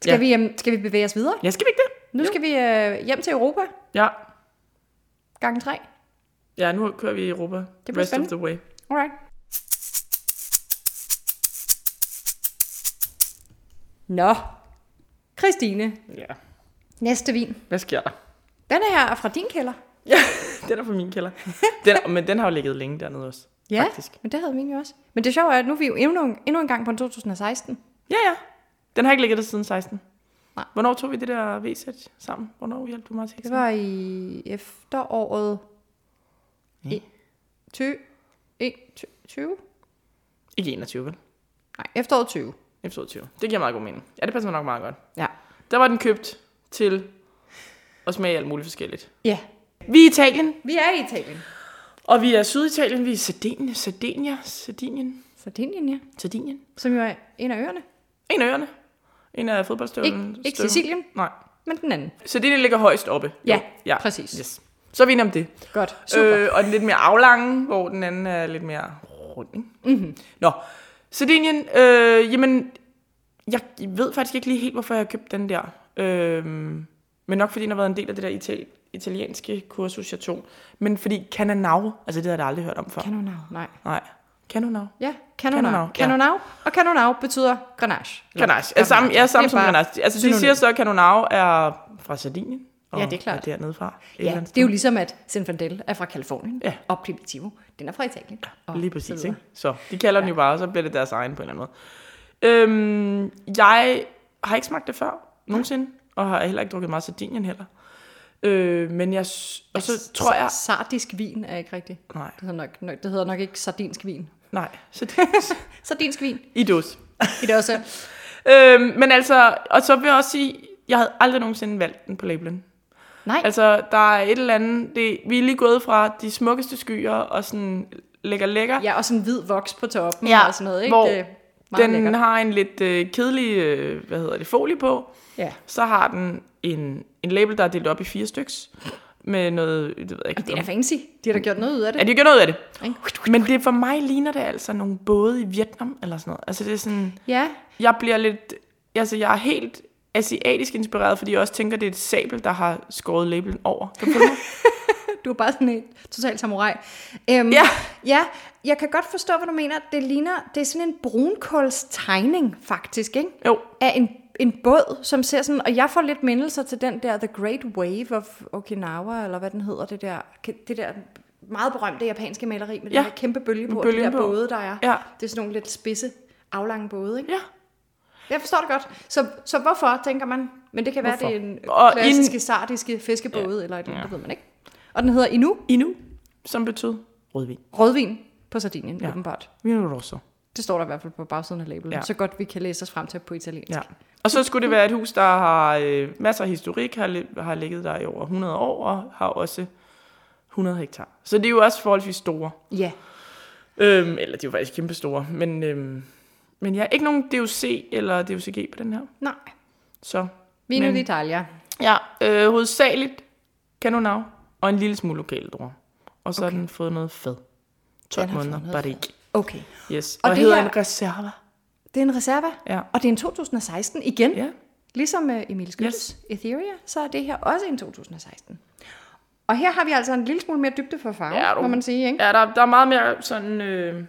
B: Ja.
A: ja. vi, øhm, skal vi bevæge os videre?
B: Ja, skal vi ikke det?
A: Nu skal vi øh, hjem til Europa,
B: Ja.
A: gang 3.
B: Ja, nu kører vi i Europa. Det
A: bliver
B: Rest
A: spændende.
B: of the way.
A: Alright. Nå, Christine,
B: Ja.
A: næste vin.
B: Hvad sker der?
A: Den er her fra din kælder.
B: Ja, den er fra min kælder. Den, men den har jo ligget længe dernede også.
A: Ja,
B: Faktisk.
A: men det havde min jo også. Men det sjove er, at nu er vi jo endnu, endnu en gang på en 2016.
B: Ja, ja. Den har ikke ligget der siden 16.
A: Nej.
B: Hvornår tog vi det der V-sæt sammen? Hvornår hjalp du mig til?
A: Det var i efteråret
B: Ja.
A: i 20, 21, 20?
B: Ikke 21, vel?
A: Nej, efteråret 20.
B: Episode 20. Det giver meget god mening. Ja, det passer nok meget godt.
A: Ja.
B: Der var den købt til at smage alt muligt forskelligt.
A: Ja,
B: Vi er i Italien.
A: vi er i Italien.
B: Og vi er Syditalien, vi er Sardinien, Sardinia, Sardinien,
A: Sardinien, ja.
B: Sardinien.
A: Som jo er en af øerne.
B: En af øerne. En af fodboldstøvlen.
A: Ikke, ikke
B: støvlen.
A: Sicilien,
B: Nej.
A: men den anden.
B: Sardinien ligger højst oppe.
A: Ja,
B: Jo. ja.
A: præcis.
B: Yes. Så er vi enige om det.
A: Godt, super. Øh,
B: Øh, og den lidt mere aflange, hvor den anden er lidt mere rund. Ikke? Mm-hmm.
A: Mhm.
B: Nå, Sardinien, øh, jamen, jeg ved faktisk ikke lige helt, hvorfor jeg købte den der. Øh, men nok fordi den har været en del af det der ital- italienske kursus, jeg tog. Men fordi Cananao, altså det havde jeg da aldrig hørt om før.
A: Canonau, nej.
B: Nej. Cananao.
A: Ja,
B: Canonau,
A: Canonau.
B: ja.
A: Canonau, og Canonau betyder grenache. Eller
B: Grenache. Ja, samme, ja,
A: Det
B: samme
A: er
B: som
A: bare-
B: Grenache. Altså, de
A: synonym.
B: siger så, at Canonau er fra Sardinien.
A: Ja, det er klart.
B: dernede fra. Et eller
A: Ja,
B: andet
A: det er jo ligesom, at Zinfandel er fra Kalifornien,
B: Ja.
A: og Primitivo, den er fra Italien.
B: sted.
A: Og
B: Lige
A: så
B: præcis,
A: videre.
B: ikke? Så de kalder den jo bare, og så bliver det deres egen på en eller anden måde. Øhm, jeg har ikke smagt det før, nogensinde, og har heller ikke drukket meget Sardinien heller. Øh, men jeg... s- Og så tror jeg...
A: Sardisk vin er ikke rigtigt.
B: Nej,
A: Det hedder nok, nok- det hedder nok ikke sardinsk vin.
B: nej. Så det,
A: Sardinsk vin,
B: I dus.
A: i det også.
B: Øhm, men altså... Og så vil jeg også sige, jeg havde aldrig nogensinde valgt den på labelen.
A: Nej,
B: Altså, der er et eller andet... Det, vi er lige gået fra de smukkeste skyer og sådan lækker lækker.
A: ja, og sådan hvid voks på toppen
B: Ja,
A: ja, og sådan noget, ikke?
B: hvor
A: det er meget
B: den
A: lækkert.
B: har en lidt øh, kedelig, øh, hvad hedder det, folie på.
A: Ja.
B: Så har den en, en label, der er delt op i fire styks. Med noget, det ved jeg ikke.
A: Det er da fancy. De har da gjort noget ud af det.
B: Ja, de gør noget af det.
A: ikke?
B: Men det for mig ligner det altså nogle både i Vietnam eller sådan noget. Altså det er sådan,
A: Ja,
B: jeg bliver lidt, altså jeg er helt asiatisk inspireret, fordi jeg også tænker, det er et sabel, der har skåret labelen over. Kan du følge mig?
A: Du er bare sådan en total samurai. Øhm,
B: Ja.
A: ja. Jeg kan godt forstå, hvad du mener. Det ligner, det er sådan en brunkålstegning, faktisk, ikke?
B: jo,
A: Af en, en båd, som ser sådan... Og jeg får lidt mindelser til den der The Great Wave of Okinawa, eller hvad den hedder, det der, det der meget berømte japanske maleri med ja.
B: Ja.
A: den der kæmpe bølge på,
B: Med
A: og de der
B: bølgen på.
A: både, der er.
B: Ja.
A: Det er sådan nogle lidt spidse, aflange både, ikke?
B: ja.
A: Jeg forstår det godt. Så, så hvorfor, tænker man? Men det kan være,
B: Hvorfor?
A: det er en
B: Og
A: klassiske, sardiske fiskebåde, ja. eller et eller andet, ja. det ved man ikke. Og den hedder Inu,
B: Inu, som betød rødvin.
A: rødvin på Sardinien, ja.
B: Ja.
A: åbenbart.
B: Vino Rosso.
A: Det står der i hvert fald på bagsiden af labelen, ja.
B: Ja.
A: så godt vi kan læse os frem til på italiensk.
B: Ja. Og så skulle det være et hus, der har øh, masser af historik, har, li- har ligget der i over 100 år, og har også 100 hektar. Så det er jo også forholdsvis store.
A: ja.
B: Øhm, eller de er jo faktisk kæmpe store. Men, øhm, men jeg ja, ikke nogen DUC eller DUCG på den her.
A: Nej,
B: Så
A: Vino
B: Men-
A: d'Italia.
B: ja, øh, hovedsageligt Canonav og en lille smule lokale druer. Og så okay. har den fået noget fad. 12
A: Den har fået
B: måneder
A: noget
B: barik.
A: Okay.
B: Yes.
A: Og
B: Og, og
A: det
B: hedder
A: her-
B: en reserva.
A: Det er en reserva,
B: Ja.
A: og det er en 2016 igen.
B: Ja.
A: Ligesom uh, Emil Skyttes yes. Etheria, så er det her også en 2016. Og her har vi altså en lille smule mere dybde for farven,
B: Ja,
A: ja,
B: du.
A: må man sige. Ikke?
B: Ja, der, der er meget mere sådan øh,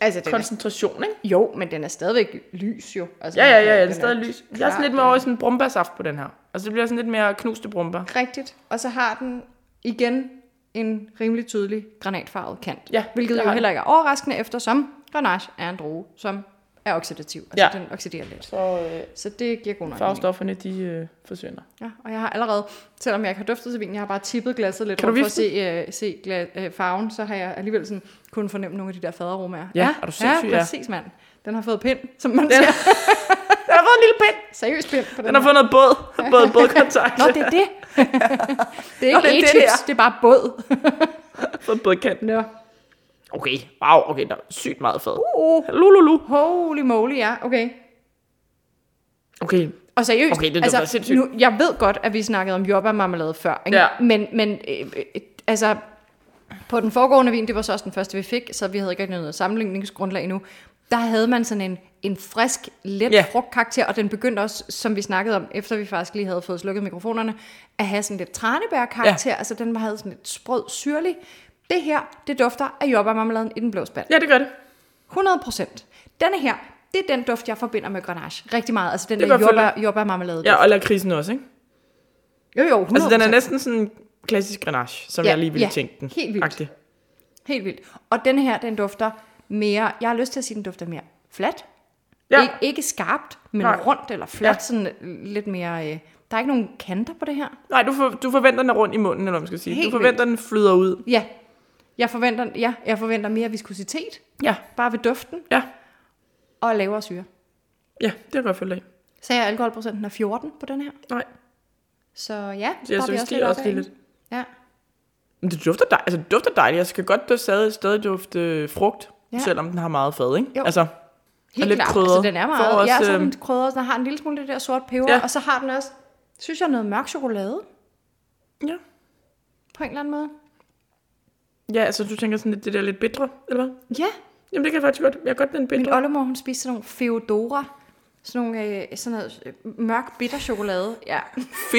A: Altså, den er,
B: koncentration, ikke?
A: jo, men den er stadigvæk lys jo. Altså,
B: Ja, ja,
A: den er-
B: ja, ja, det
A: den
B: er stadig lys. Jeg er
A: klar,
B: sådan lidt
A: den
B: mere over i sådan en brumbærsaft på den her. Altså det bliver sådan lidt mere knuste brumber.
A: Rigtigt. Og så har den igen en rimelig tydelig granatfarvet kant.
B: Ja,
A: hvilket
B: det
A: jo
B: har den.
A: heller ikke er overraskende, eftersom Grenache er en droge, som er oxidativ. Altså ja.
B: Ja.
A: den oxiderer lidt.
B: Så øh,
A: Så det giver god nok mening.
B: farvestofferne, de øh, forsvinder.
A: Ja, og jeg har allerede, selvom jeg ikke har duftet til vinen, jeg har bare tippet glasset lidt
B: Kan
A: rundt
B: du
A: for at se, uh, se gla- øh, farven, så har jeg alligevel sådan kun fornemme nogle af de der faderomaer.
B: Ja, er du sindssyg,
A: ja,
B: ja.
A: præcis, mand. Den har fået pind, som man siger.
B: Den har fået en lille pind.
A: Seriøst pind på den,
B: Den har fået noget båd. Båd, bådkontakt.
A: Nå, det er det. det er
B: Nå, det er
A: ikke
B: det,
A: e-tips,
B: det
A: det,
B: er.
A: det er bare båd.
B: Fået bådkanten.
A: Nå.
B: Okay, wow, okay, der er sygt meget fad.
A: Uh,
B: Lululu.
A: holy moly, ja, okay.
B: Okay,
A: Og seriøst, altså,
B: Okay, det lyder da sindssygt.
A: nu, jeg ved godt, at vi snakkede om jordbærmarmelade før, ikke?
B: Ja.
A: men, men øh, øh, altså, på den foregående vin, det var så også den første, vi fik, så vi havde ikke rigtig noget sammenligningsgrundlag endnu, der havde man sådan en, en frisk, let
B: Ja.
A: yeah. frugtkarakter, og den begyndte også, som vi snakkede om, efter vi faktisk lige havde fået slukket mikrofonerne, at have sådan lidt tranebærkarakter, ja. altså den havde sådan lidt sprød, syrlig. Det her, det dufter af jordbærmarmeladen i den blå spand.
B: ja, det gør det.
A: 100 procent. Denne her, det er den duft, jeg forbinder med Grenache. Rigtig meget. Altså den
B: Det
A: der
B: kan jeg følge
A: jordbær, jordbærmarmelade.
B: Ja, og lakrisen også, ikke?
A: Jo, jo, 100
B: Altså den er næsten sådan en klassisk grenache, som
A: Ja,
B: ja, jeg lige ville
A: ja,
B: tænke den.
A: helt vildt.
B: Agtig.
A: Helt vildt. Og denne her, den dufter mere... Jeg har lyst til at sige, den dufter mere flat.
B: Ja.
A: Ikke, ikke skarpt, men
B: Nej.
A: Nej. rundt eller flat. Ja.
B: Ja.
A: Sådan lidt mere... Øh, der er ikke nogen kanter på det her.
B: Nej, du, for, du forventer den er rundt i munden, eller hvad man skal sige.
A: Helt
B: du forventer, den flyder ud.
A: Ja. Jeg forventer, ja, jeg forventer mere viskositet,
B: Ja,
A: bare ved duften,
B: ja,
A: og lavere syre.
B: ja, det kan jeg godt følge af.
A: Så er alkoholprocenten er 14 på den her.
B: Nej,
A: Så ja,
B: så jeg
A: er vi
B: synes,
A: også
B: det
A: lidt
B: er
A: oppe
B: også lige
A: af,
B: lidt.
A: ikke? Ja.
B: Men det dufter dejligt. Altså, det dufter dejligt. Jeg skal godt stadig, stadig dufte øh, frugt,
A: Ja.
B: ja. selvom den har meget fad, ikke?
A: Jo.
B: Altså,
A: Helt
B: lidt
A: klart.
B: krydret.
A: Altså, den er meget.
B: Får
A: Også,
B: også,
A: ja, og så er
B: øhm,
A: den krydret, der har en lille smule det der sort peber, ja.
B: Ja.
A: og så har den også, synes jeg, noget mørk chokolade
B: ja.
A: på en eller anden måde.
B: Ja, altså, du tænker sådan lidt, det der lidt bedre, eller hvad?
A: Ja,
B: Jamen, det kan jeg faktisk godt. Jeg kan godt den
A: min
B: bedre.
A: oldemor, hun spiste sådan nogle Feodora, sådan nogle øh, sådan noget øh, mørk bitter chokolade. Ja,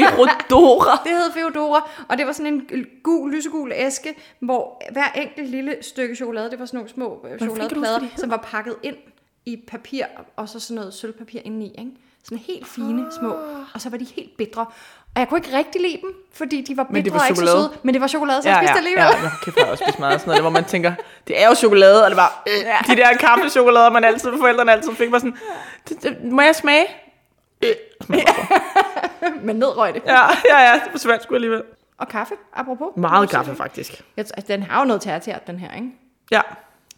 B: Ferodora.
A: det hed Feodora, og det var sådan en gul, lysegul æske, hvor hver enkelt lille stykke chokolade, det var sådan nogle små øh,
B: kan du huske, hvad de
A: chokoladeplader,
B: hedder?
A: som var pakket ind i papir, og så sådan noget sølvpapir indeni, ikke? Sådan helt
B: Ah.
A: fine, små, og så var de helt bitre. Og jeg kunne ikke rigtig lide dem, fordi de var
B: Men det
A: bitre
B: var
A: og ikke så
B: chokolade.
A: søde, men det var chokolade, så jeg spiste alligevel.
B: ja, ja, kæft, jeg har også spist meget af sådan noget, hvor man tænker, det er jo chokolade, og det var øh, de der kaffechokolader, man altid, forældrene altid fik, var sådan, det, det, må jeg smage? Øh.
A: Men nedrøg det.
B: Ja, ja, ja, det forsvandt sgu alligevel.
A: Og kaffe, apropos.
B: Meget kaffe, faktisk.
A: Jeg, t- altså, den har jo noget tertiær, den her, ikke?
B: Ja,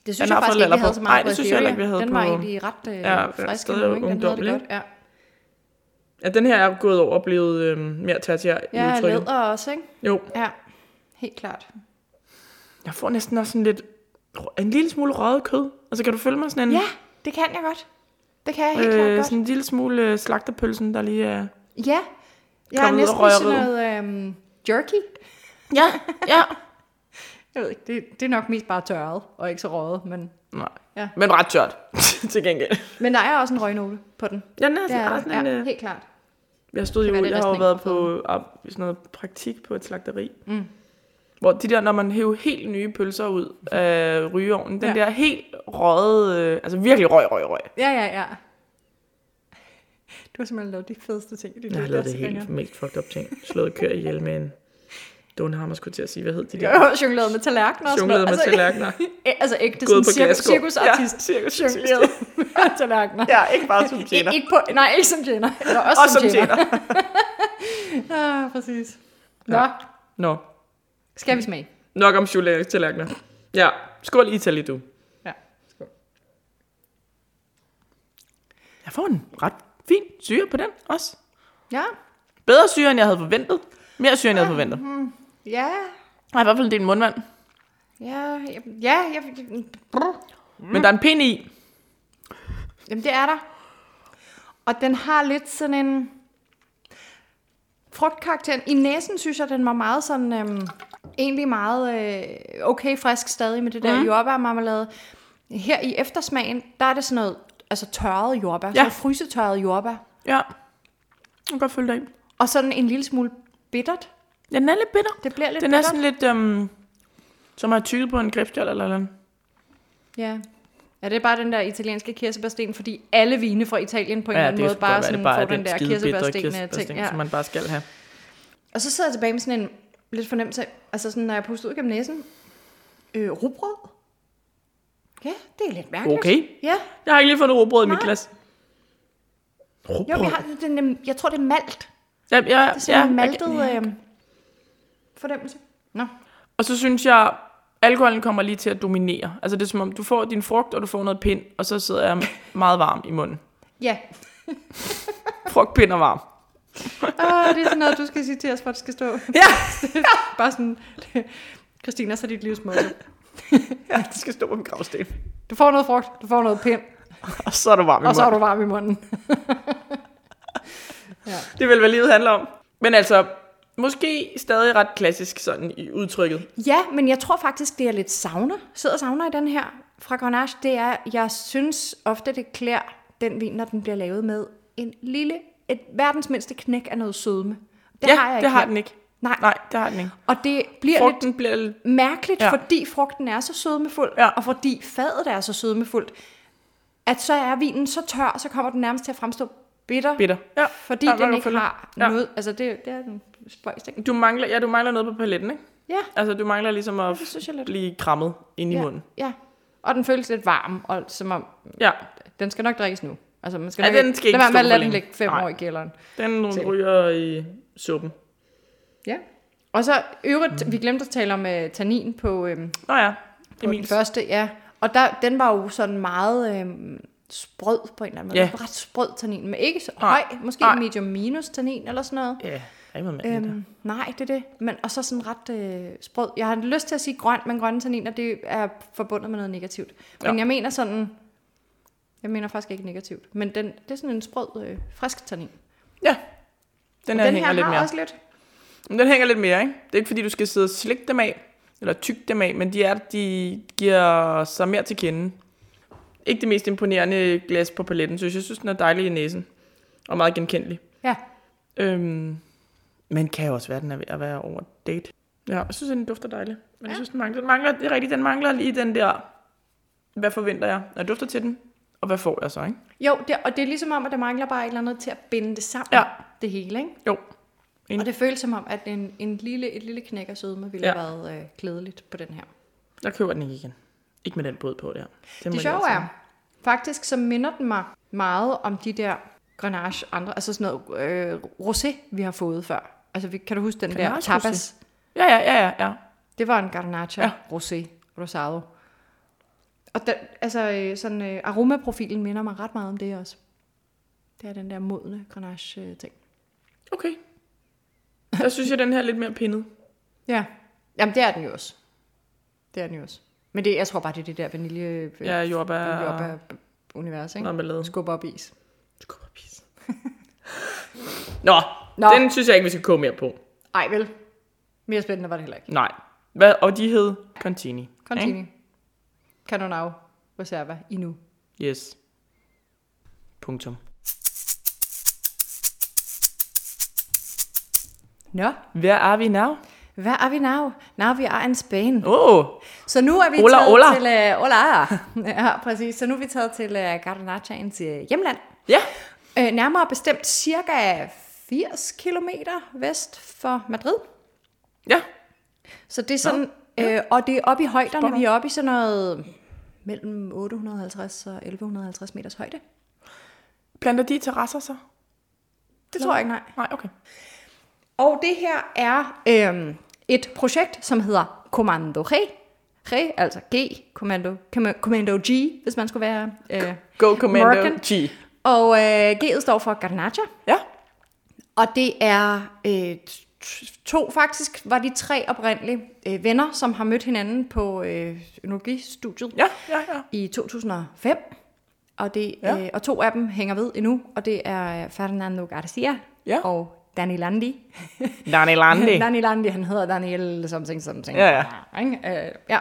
A: Det synes
B: Den har
A: jeg
B: fået
A: faktisk ikke, vi
B: laller
A: havde
B: på.
A: så meget
B: Nej,
A: på
B: det synes jeg heller
A: Ethereum.
B: ikke, vi havde
A: Den var
B: på-
A: egentlig ret øh,
B: Ja,
A: ja,
B: ja,
A: frisk.
B: stadig
A: endnu, ikke? Den havde det
B: ungdommelig,
A: godt, ja.
B: ja den her er gået over og blevet øh, mere tertiær i
A: Ja,
B: udtrykket.
A: læder også, ikke?
B: Jo,
A: Ja, helt klart.
B: jeg får næsten også sådan lidt, en lille smule røget kød. Altså, kan du følge mig sådan en,
A: Ja, det kan jeg godt. Det kan jeg helt øh, klart
B: øh,
A: godt.
B: sådan en lille smule øh, slagterpølsen, der lige er...
A: Ja, jeg er
B: Kom ud og
A: næsten
B: rør
A: sådan
B: ved.
A: noget øhm, jerky.
B: Ja, ja.
A: Jeg ved ikke, det, det er nok mest bare tørret og ikke så røget, men,
B: Nej,
A: Ja.
B: ja. men ret tørt, til gengæld.
A: men der er også en røgnote på den.
B: Ja, den er,
A: Det
B: sådan,
A: er
B: er
A: der.
B: sådan en,
A: ja,
B: øh,
A: helt klart.
B: Jeg stod
A: Det kan
B: jo,
A: være, det er
B: jeg har jo
A: resten
B: været
A: ikke har
B: på ah, sådan noget praktik på et slagteri.
A: Mm.
B: Hvor de der, når man hæver helt nye pølser ud af rygeovnen, den
A: Ja.
B: der helt røget, øh, altså virkelig røg, røg, røg.
A: Ja, ja, ja. Du har simpelthen lavet de fedeste ting i dit liv.
B: Jeg har
A: er
B: lavet det
A: så
B: helt
A: grineren.
B: mest fucked up ting. Slået kør ihjel med en dunhammer, skulle til at sige, hvad hed de der?
A: Jo, jongleret med tallerkener og sådan
B: Jongleret
A: noget.
B: med tallerkener.
A: tallerkener. Altså ægte
B: Gået
A: sådan
B: på
A: cirkus,
B: glasgård.
A: cirkusartist.
B: Ja, cirkus
A: Ja. Jongleret med tallerkener.
B: Ja, ikke bare som
A: Ikke,
B: tjener.
A: ikke på, nej, ikke som tjener. Eller også,
B: Og som tjener.
A: ah, præcis. Nå,
B: Ja. Nå,
A: skal vi smage?
B: nok om chokolade-tallerkener. Ja, skål Italy, du.
A: Ja, skål.
B: Jeg får en ret fin syre på den også.
A: Ja,
B: Bedre syre, end jeg havde forventet. Mere syre, end jeg havde forventet.
A: ja,
B: Jeg har i hvert fald en del mundvand.
A: ja, ja, ja, ja. Brr.
B: Men der er en pind i.
A: Jamen, det er der. Og den har lidt sådan en frugtkarakter. I næsen synes jeg, den var meget sådan... Øhm, egentlig meget øh, okay frisk stadig med det der mm. jordbærmarmelade. Her i eftersmagen, der er det sådan noget altså tørret jordbær. Ja. Sådan noget frysetørret jordbær.
B: Ja. Jeg kan godt følge dig i.
A: Og sådan en lille smule bittert.
B: Ja, den er lidt bitter.
A: Det bliver lidt
B: Den er
A: bittert.
B: sådan lidt, øhm, som har tykket på en gribskjold eller noget.
A: Ja. Ja, det er bare den der italienske kirsebærsten, fordi alle vine fra Italien på en eller anden måde bare, sådan, får den, der kirsebærsten øh, ting. Ja.
B: som man bare skal have.
A: Og så sidder jeg tilbage med sådan en lidt fornemmelse af, altså sådan, når jeg puster ud gennem næsen, øh, rugbrød. Ja, det er lidt mærkeligt.
B: Okay.
A: Ja,
B: Jeg har ikke lige fundet råbrød i mit
A: Nej.
B: glas.
A: jo,
B: Råbrød?
A: vi har, det er nem, jeg tror, det er malt.
B: Ja, ja,
A: Det er
B: ja,
A: sådan en maltet
B: jeg-
A: øh, fornemmelse. Nå.
B: Og så synes jeg, alkoholen kommer lige til at dominere. Altså det er som om, du får din frugt, og du får noget pind, og så sidder jeg meget varm i munden.
A: Ja,
B: Frugt, pind og varm.
A: ah, det er sådan noget, du skal sige til os, hvor det skal stå.
B: Ja.
A: Bare sådan, Christina, så dit livs motto.
B: ja, det skal stå på min gravsten.
A: Du får noget frugt, du får noget pind,
B: Og så er du varm i
A: og så er
B: munden.
A: du varm i munden.
B: Det er vel, hvad livet handler om. Men altså, måske stadig ret klassisk sådan i udtrykket.
A: Ja, men jeg tror faktisk, det er lidt savner. Sidder og savner i den her fra Grenache, det er, jeg synes ofte, det klæder den vin, når den bliver lavet med en lille, et verdens mindste knæk af noget sødme. Det
B: ja,
A: har jeg
B: det
A: ikke
B: har
A: her.
B: den ikke.
A: Nej.
B: Nej, det har den ikke.
A: Og det bliver Frugt. lidt
B: Frugten bliver... lidt-
A: mærkeligt,
B: Ja.
A: ja. fordi frugten er så sødmefuld,
B: Ja.
A: og fordi fadet er så sødmefuldt, at så er vinen så tør, så kommer den nærmest til at fremstå bitter,
B: Bitter. Ja,
A: fordi
B: ja,
A: ja,
B: man
A: den
B: kan
A: ikke
B: følge.
A: har
B: Ja.
A: noget. Altså, det, det er den spøjs ting.
B: Du mangler, ja, du mangler noget på paletten, ikke?
A: Ja,
B: Altså, du mangler ligesom at
A: det synes jeg lidt.
B: blive krammet ind i
A: ja,
B: munden.
A: Ja, og den føles lidt varm, og som om
B: Ja,
A: Den skal nok drikkes nu. Altså, man skal
B: Ja,
A: nok
B: den skal ikke
A: lad være
B: stå
A: med at
B: for
A: lade den
B: længe.
A: ligge fem
B: Nej.
A: Nej. år i kælderen.
B: den
A: Se.
B: ryger i suppen.
A: Ja. Og så øvrigt, mm. vi glemte at tale om uh, tannin på, øhm,
B: Nå ja,
A: på den
B: Emils.
A: første. Ja. Og der, den var jo sådan meget øhm, sprød på en eller anden måde.
B: Ja.
A: Yeah. Ret sprød tannin, men ikke så
B: Nej.
A: høj. Måske
B: Nej.
A: medium minus tannin eller sådan noget.
B: Ja, rimelig mand. det der.
A: Øhm, nej, det er det. Men, og så sådan ret øh, sprød. Jeg har lyst til at sige grøn, men grønne tanniner, det er forbundet med noget negativt. Men
B: Ja.
A: jeg mener sådan... Jeg mener faktisk ikke negativt, men den, det er sådan en sprød, øh, frisk tannin.
B: Ja, den her, den
A: Den her
B: hænger lidt
A: har
B: mere. Også...
A: også lidt.
B: Den hænger lidt mere, ikke? Det er ikke fordi, du skal sidde og slikke dem af, eller tygge dem af, men de, er, de giver sig mere til kende. Ikke det mest imponerende glas på paletten, synes jeg. Jeg synes, den er dejlig i næsen, og meget genkendelig.
A: Ja.
B: Øhm, men kan jo også være, at den er ved at være over date. Ja, jeg synes, at den dufter dejligt. Men ja. jeg synes, den mangler, den mangler, det er rigtigt, den mangler lige den der, hvad forventer jeg, når jeg dufter til den, og hvad får jeg så, ikke?
A: Jo, det, og det er ligesom om, at der mangler bare et eller andet til at binde det sammen,
B: Ja.
A: det hele, ikke?
B: Jo, Enig.
A: Og det føles som om, at en, en lille, et lille knæk af sødme ville
B: Ja.
A: ja. have været øh, glædeligt på den her.
B: jeg køber den ikke igen. Ikke med den båd på der. må
A: Det
B: jeg
A: sjove
B: altså-
A: er, faktisk så minder den mig meget om de der Grenache andre, altså sådan noget øh, rosé, vi har fået før. Altså, vi, kan du huske den der
B: Grenache
A: tapas?
B: Ja, ja, ja, ja, ja.
A: Det var en Garnacha
B: Ja.
A: ja. Rosé Rosado. Og den, altså, øh, sådan, øh, aromaprofilen minder mig ret meget om det også. Det er den der modne øh, Grenache-ting.
B: Okay. Der synes jeg, den her er lidt mere pindet.
A: Ja. Jamen, det er den jo også. Det er den jo også. Men det, jeg tror bare, det er det der vanilje...
B: Ja, jordbær, jordbær.
A: jordbær-univers, ikke?
B: marmelade.
A: Skub op is.
B: Skub og pis. Nå, Nå,
A: Nå.
B: den synes jeg ikke, vi skal koge mere på.
A: Ej, vel. Mere spændende var det heller ikke.
B: Nej. Hvad, og de hed Contini.
A: Continue. Okay. Canonau. Reserva. Inu.
B: Yes. Punktum.
A: Nå,
B: Where are we now?
A: hvad er vi now? Now vi er in Spanien.
B: Åh, oh,
A: Så nu er vi
B: Hola,
A: taget
B: hola.
A: til... Uh, hola, Ja, præcis. Så nu er vi taget til uh, Gardenachaens uh, hjemland.
B: ja.
A: Øh, nærmere bestemt cirka 80 km vest for Madrid.
B: Ja,
A: Så det er sådan, øh, og det er oppe i højderne.
B: Spot
A: Vi er oppe i sådan noget mellem 850 og 1150 meters højde.
B: planter de terrasser så?
A: Det tror jeg ikke, nej.
B: Nej, okay.
A: Og det her er øhm, et projekt, som hedder Commando G. G, altså G, Commando, Comm- Commando G, hvis man skulle være... Øh,
B: Go Commando
A: Morgan.
B: G.
A: og øh, G'et står for Garnacha.
B: Ja,
A: Og det er øh, t- to, faktisk var de tre oprindelige øh, venner, som har mødt hinanden på øh, ønologistudiet
B: ja, ja, ja.
A: i 2005. Og, det,
B: Ja.
A: ja. øh, og to af dem hænger ved endnu, og det er Fernando Garcia
B: Ja.
A: og Dani Landi.
B: Danny Landi.
A: Dani Landi, han hedder Daniel something something.
B: Ja,
A: Ikke? Øh, ja.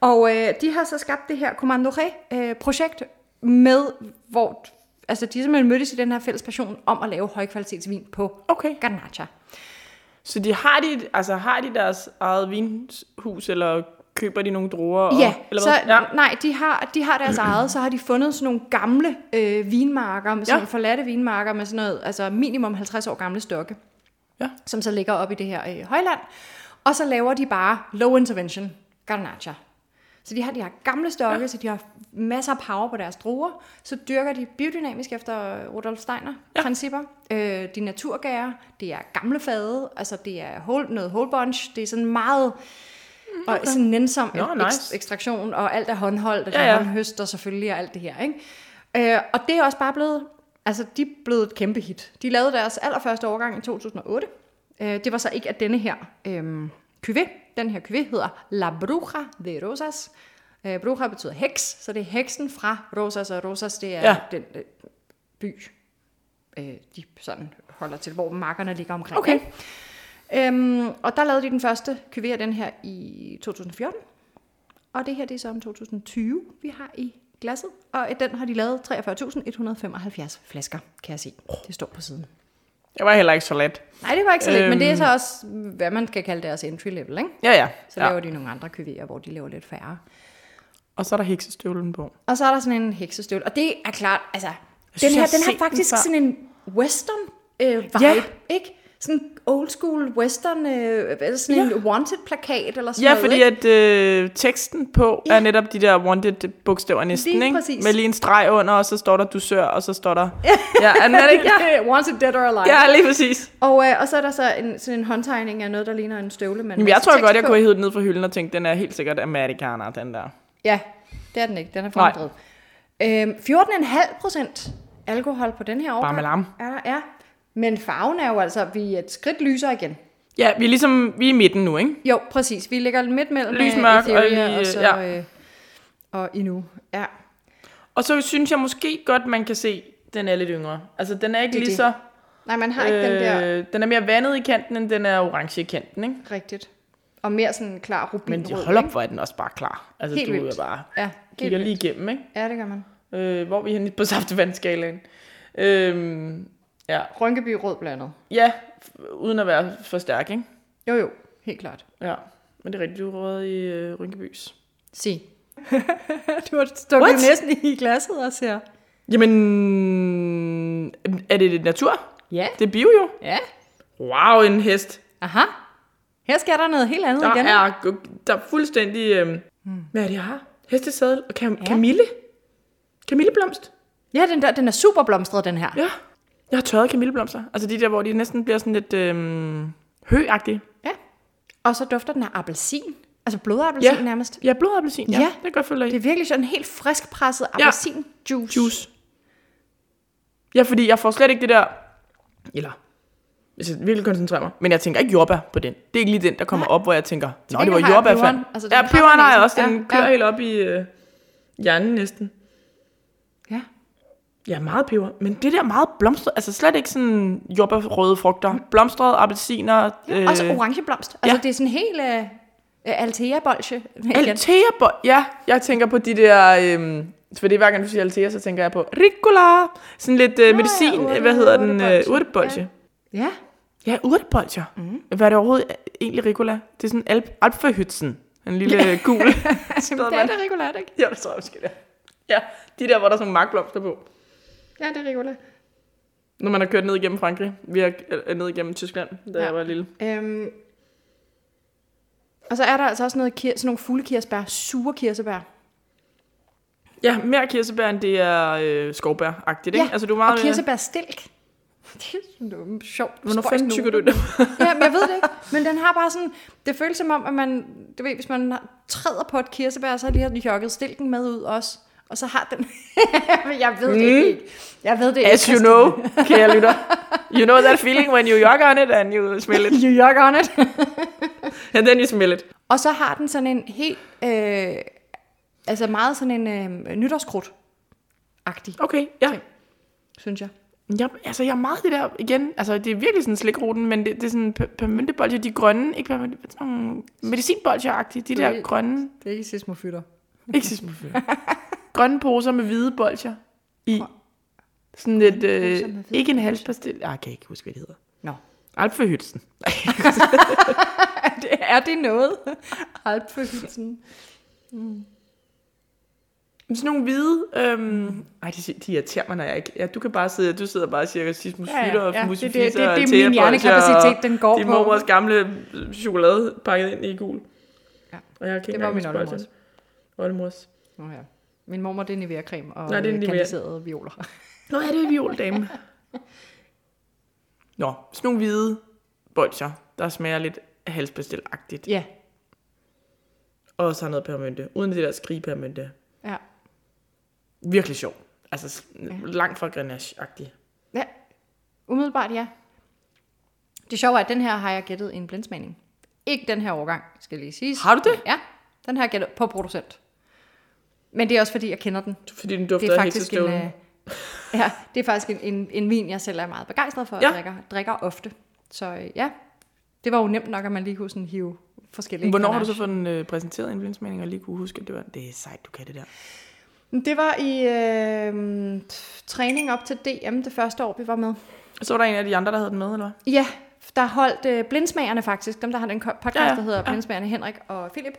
A: Og øh, de har så skabt det her Commando Ré-projekt med, hvor altså, de simpelthen mødtes i den her fælles passion om at lave højkvalitetsvin på
B: Okay.
A: Garnacha.
B: Så de har, de, altså, har de deres eget vinhus, eller køber de nogle druer? Og,
A: Ja,
B: eller
A: så
B: hvad? ja.
A: nej, de har, de har deres eget, så har de fundet sådan nogle gamle øh, vinmarker, med sådan
B: Ja.
A: nogle forladte vinmarker med sådan noget, altså minimum 50 år gamle stokke,
B: Ja.
A: som så ligger op i det her øh, højland. Og så laver de bare low intervention garnacha. Så de har de her gamle stokke, ja. så de har masser af power på deres druer. Så dyrker de biodynamisk efter Rudolf Steiner-principper. Ja. Øh, de er naturgære, det er gamle fade, altså det er whole, noget whole bunch. Det er sådan meget og sådan nænsom
B: Mm, Nå,
A: ek-
B: nice.
A: ekstraktion, og alt er håndholdt, og
B: Ja,
A: ja,
B: ja.
A: ja. håndhøster selvfølgelig, og alt det her. Ikke? Øh, og det er også bare blevet, altså de er blevet et kæmpe hit. De lavede deres allerførste årgang i 2008. Øh, det var så ikke at denne her øh, cuvée. Den her cuvée hedder La Bruja de Rosas. Øh, Bruja betyder heks, så det er heksen fra Rosas, og Rosas det er
B: Ja.
A: ja. den øh, by, øh, de sådan holder til, hvor markerne ligger omkring.
B: Okay.
A: ikke? Øhm, og der lavede de den første cuvée af den her i 2014. Og det her, det er så om 2020, vi har i glasset. Og den har de lavet 43.175 flasker, kan jeg se. Det står på siden.
B: Jeg var heller ikke så let.
A: Nej, det var ikke så lidt, øhm. men det er
B: Øhm.
A: så også, hvad man skal kalde deres entry level, ikke?
B: Ja, ja.
A: Så
B: ja.
A: laver de nogle andre kuvéer, hvor de laver lidt færre.
B: Og så er der heksestøvlen på.
A: Og så er der sådan en heksestøvle. Og det er klart, altså,
B: synes,
A: den
B: jeg
A: her,
B: har
A: den
B: set den
A: har faktisk
B: før.
A: sådan en western øh, vibe,
B: Ja.
A: ikke? Sådan old school western, øh, eller sådan ja. en wanted plakat eller sådan
B: Ja,
A: noget,
B: fordi
A: ikke?
B: at øh, teksten på ja. er netop de der wanted bogstaver næsten,
A: Lige
B: ikke?
A: præcis.
B: Med lige en streg under, og så står der du sør, og så står der... ja, er den- er det ikke? Ja.
A: Ja, wanted dead or alive.
B: ja, lige præcis.
A: Og, øh, og så er der så en, sådan en håndtegning af noget, der ligner en støvle. Men
B: Jamen, jeg tror godt, jeg kunne have hævet den ned fra hylden og tænkt, den er helt sikkert amerikaner, den der.
A: Ja, det er den ikke. Den er
B: Nej.
A: forandret. Øhm, 14,5 procent alkohol på den her årgang.
B: Bamalam.
A: Er der, ja. Men farven er jo altså, vi er et skridt lysere igen.
B: Ja, vi er ligesom, vi er i midten nu, ikke?
A: Jo, præcis. Vi ligger midt mellem
B: Lys,
A: øh,
B: mørk og
A: Etheria
B: lige, øh,
A: og, så,
B: ja.
A: ja. øh, og Inu. Ja.
B: Og så synes jeg måske godt, man kan se, den er lidt yngre. Altså, den er ikke
A: Det er
B: lige
A: det.
B: så...
A: Nej, man har
B: Øh,
A: ikke den der
B: den er mere vandet i kanten, end den er orange i kanten, ikke?
A: rigtigt. Og mere sådan klar rubin.
B: Men de holder op, hvor er den også bare klar. Altså,
A: Helt
B: du
A: vildt.
B: er bare...
A: Ja, helt
B: Kigger lige
A: vildt.
B: igennem, ikke?
A: Ja, det gør man.
B: Øh, hvor er vi henne på saftevandskalaen? Øhm, ja.
A: Rynkeby rød blandet.
B: ja, f- uden at være for stærk, ikke?
A: Jo, jo. Helt klart.
B: Ja, men det er rigtigt, du er røget i øh, Rynkebys.
A: Sig. du står
B: What?
A: næsten i glasset og ser.
B: Jamen, er det lidt natur?
A: Ja.
B: Det er bio jo.
A: Ja.
B: Wow, en hest.
A: Aha. Her sker der noget helt andet
B: Der
A: igen. Hmm.
B: er, gu- der er fuldstændig... Øhm, Hvad er det, jeg har? Hestesadel og kam- ja. kamille. Kamilleblomst.
A: Ja, den, der, den er super blomstret, den her.
B: Ja. Jeg har tørret kamilleblomster. Altså de der, hvor de næsten bliver sådan lidt øhm, høagtige.
A: ja. Og så dufter den af appelsin. Altså blodappelsin ja. nærmest.
B: Ja, blodappelsin. Ja.
A: Ja.
B: ja. Det kan jeg godt følge dig i.
A: Det er virkelig sådan helt frisk presset appelsinjuice.
B: juice. Ja, fordi jeg får slet ikke det der... Eller, hvis jeg virkelig koncentrerer mig. Men jeg tænker ikke jordbær på den. Det er ikke lige den, der kommer op, hvor jeg tænker, Nå, det
A: gengæld
B: var
A: har jeg
B: jordbær,
A: peberen.
B: fand.
A: Altså,
B: Altså,
A: den
B: ja,
A: har
B: peberen har jeg
A: næsen.
B: også. Den
A: Ja,
B: kører
A: ja.
B: helt op i øh, hjernen næsten.
A: Ja.
B: Ja, meget peber. Men det der meget blomstret, altså slet ikke sådan jordbærrøde frugter. Blomstrede appelsiner.
A: Øh, Mm. Også orange blomst. Altså,
B: ja.
A: det er sådan helt øh, øh, altea-bolsje. igen.
B: Altea, ja, jeg tænker på de der, øhm, fordi hver gang du siger Altea, så tænker jeg på Ricola, sådan lidt øh, medicin,
A: urte-
B: hvad hedder den, øh,
A: urtebolsje.
B: urtebolsje.
A: Ja. Mhm.
B: Ja, urtebolcher. Mm. Hvad er det overhovedet egentlig Ricola? Det er sådan Alp, Alpferhytzen. En lille ja. gul.
A: Jamen, det er det regulært, ikke?
B: Ja, det tror jeg måske, det er. Ja, de der, hvor der er sådan nogle markblomster på.
A: Ja, det er regulært.
B: Når man har kørt ned igennem Frankrig. Vi har øh, ned igennem Tyskland, da ja.
A: Ja.
B: jeg var lille.
A: Øhm. Og så er der altså også noget kir- sådan nogle fuglekirsebær, sure kirsebær.
B: Ja, mere kirsebær, end det er øh, skovbær-agtigt, ikke?
A: Ja,
B: altså, du er meget
A: og kirsebærstilk. Det er sådan noget sjovt.
B: Hvornår
A: spøjst
B: fanden
A: noget.
B: tykker du det?
A: ja, men jeg ved det ikke. Men den har bare sådan, det føles som om, at man, du ved, hvis man har- træder på et kirsebær, så har de lige jokket stilken med ud også. Og så har den... Men jeg ved det
B: Mm.
A: ikke. Jeg ved det ikke.
B: As you know, kære lytter. You know that feeling when you jog on it and you smell it.
A: You jog on it.
B: And then you smell it.
A: Og så har den sådan en helt... Øh, altså meget sådan en øh, nytårskrudt-agtig,
B: Okay, ja.
A: synes jeg.
B: Jeg, altså, jeg er meget det der, igen, altså, det er virkelig sådan slikruten, men det, det er sådan p- permanentebolger, de er grønne, ikke permanente, hvad er sådan nogle medicinbolger-agtige, de
A: Du
B: der
A: ved-
B: grønne,
A: Det er ikke sismofytter.
B: ikke sismofyr. grønne poser med hvide bolger i. Sådan lidt,
A: poser med
B: øh,
A: hvide
B: ikke en halspastil, ah, jeg kan ikke huske, hvad det hedder.
A: Nå.
B: Alpfehydsen.
A: Det er det noget. Alpfølelsen.
B: Men Sådan nogle hvide... Øhm, ej, de, de irriterer mig, når jeg ikke... Ja, du kan bare sidde... Du sidder bare og siger sismus ja, ja, og ja,
A: det, det, det,
B: musefisser
A: det, det er
B: og
A: min hjernekapacitet, den går
B: Det er
A: på.
B: mormors gamle chokolade pakket ind i gul.
A: Ja,
B: og jeg kan
A: det var min
B: oldemors. Oldemors.
A: Nå ja. Min mormor, det er Nivea-creme og
B: Nej,
A: Nej,
B: det er Nivea.
A: kandiserede violer.
B: Nå, ja, det er viol, dame. Nå, sådan nogle hvide bolcher, der smager lidt halsbestilagtigt.
A: ja,
B: Og så noget permynte. Uden det der skrigepermynte.
A: ja.
B: Virkelig sjov. Altså, s-
A: Ja.
B: langt fra grenache-agtig.
A: Ja, umiddelbart ja. Det sjove er, at den her har jeg gættet i en blindsmagning. Ikke den her årgang, skal lige sige.
B: Har du det?
A: Ja, den har jeg gættet på producent. Men det er også, fordi jeg kender den.
B: Fordi den
A: Det er
B: dufter af
A: faktisk en,
B: heksestøvlen.
A: øh, ja, det er faktisk en, en, en vin, jeg selv er meget begejstret for og
B: Ja.
A: ja. drikker, drikker ofte. Så øh, ja, det var jo nemt nok, at man lige kunne sådan hive forskellige
B: Hvornår har du så
A: grenache.
B: fået den øh, præsenteret en blindsmagning, og lige kunne huske, at det var, det er sejt, du kan det der.
A: Det var i øh, træning op til DM det første år, vi var med.
B: Så var der en af de andre, der havde den med, eller hvad?
A: Ja, der holdt øh, blindsmagerne faktisk, dem der har den ko- podcast,
B: Ja,
A: ja,
B: ja,
A: ja, der hedder
B: ja.
A: ja. Blindsmagerne Henrik og Philip,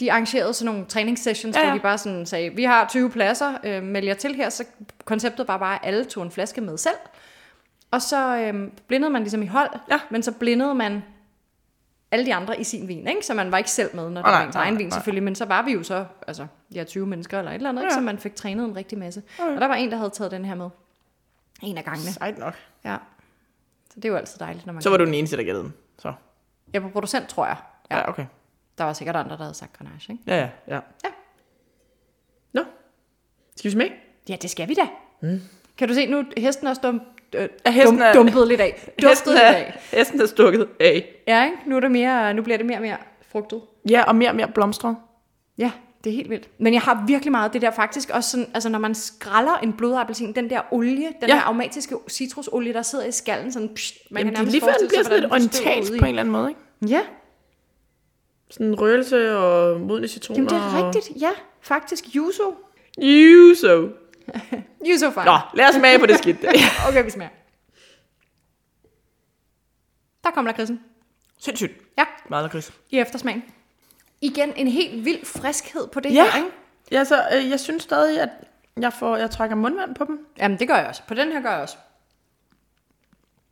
A: de arrangerede sådan nogle træningssessions,
B: Ja,
A: ja,
B: ja.
A: ja. hvor de bare sådan sagde, vi har 20 pladser, øh, meld jer til her, så konceptet var bare, at alle tog en flaske med selv, og så øh, blindede man ligesom i hold,
B: Ja.
A: men så blindede man alle de andre i sin vin, ikke? så man var ikke selv med, når
B: Nej,
A: det var ens
B: nej,
A: egen
B: nej,
A: vin
B: nej.
A: selvfølgelig, men så var vi jo så, altså, ja, 20 mennesker eller et eller andet, ikke?
B: Ja.
A: så man fik trænet en rigtig masse.
B: Ja, ja.
A: Og der var en, der havde taget den her med. En af gangene.
B: Sejt nok.
A: Ja. Så det er jo altid dejligt, når man
B: Så var du den eneste, der gættede den. Så.
A: Ja, på producent, tror jeg.
B: Ja,
A: Ja.
B: ja okay.
A: Der var sikkert andre, der havde sagt Grenache, ikke?
B: Ja, ja, ja.
A: Ja.
B: Nå. Skal vi smage?
A: Ja, det skal vi da. Mm. Kan du se nu, hesten er også dum, øh,
B: hesten
A: dum,
B: er-
A: dumpet lidt af. Duftet lidt af.
B: er, hesten er stukket af.
A: Ja, ikke? Nu, er det mere, nu bliver det mere og mere frugtet.
B: Ja, og mere og mere blomstret.
A: Ja, det er helt vildt. Men jeg har virkelig meget af det der faktisk også sådan, altså når man skræller en blodappelsin, den der olie, den
B: Ja.
A: ja. der aromatiske citrusolie, der sidder i skallen, sådan, psh, man
B: Jamen,
A: kan
B: det er
A: nærmest
B: lige før, den
A: forestille sig,
B: bliver sådan lidt
A: hvordan den støver
B: orientalsk
A: ude i-
B: på en eller anden måde, ikke?
A: Ja,
B: Sådan en røgelse og modne citroner.
A: jamen det er rigtigt, ja, faktisk yuzu.
B: Og... You so.
A: Yuzu fang.
B: Nå, lad os smage på det skidt.
A: Okay, vi smager. Der kom lakridsen.
B: Sindssygt.
A: Ja,
B: Meget lakrids.
A: i eftersmagen. Igen en helt vild friskhed på det
B: Ja.
A: her, ikke?
B: Ja, så øh, jeg synes stadig, at jeg, får, jeg trækker mundvand på dem.
A: Jamen, det gør jeg også. På den her gør jeg også.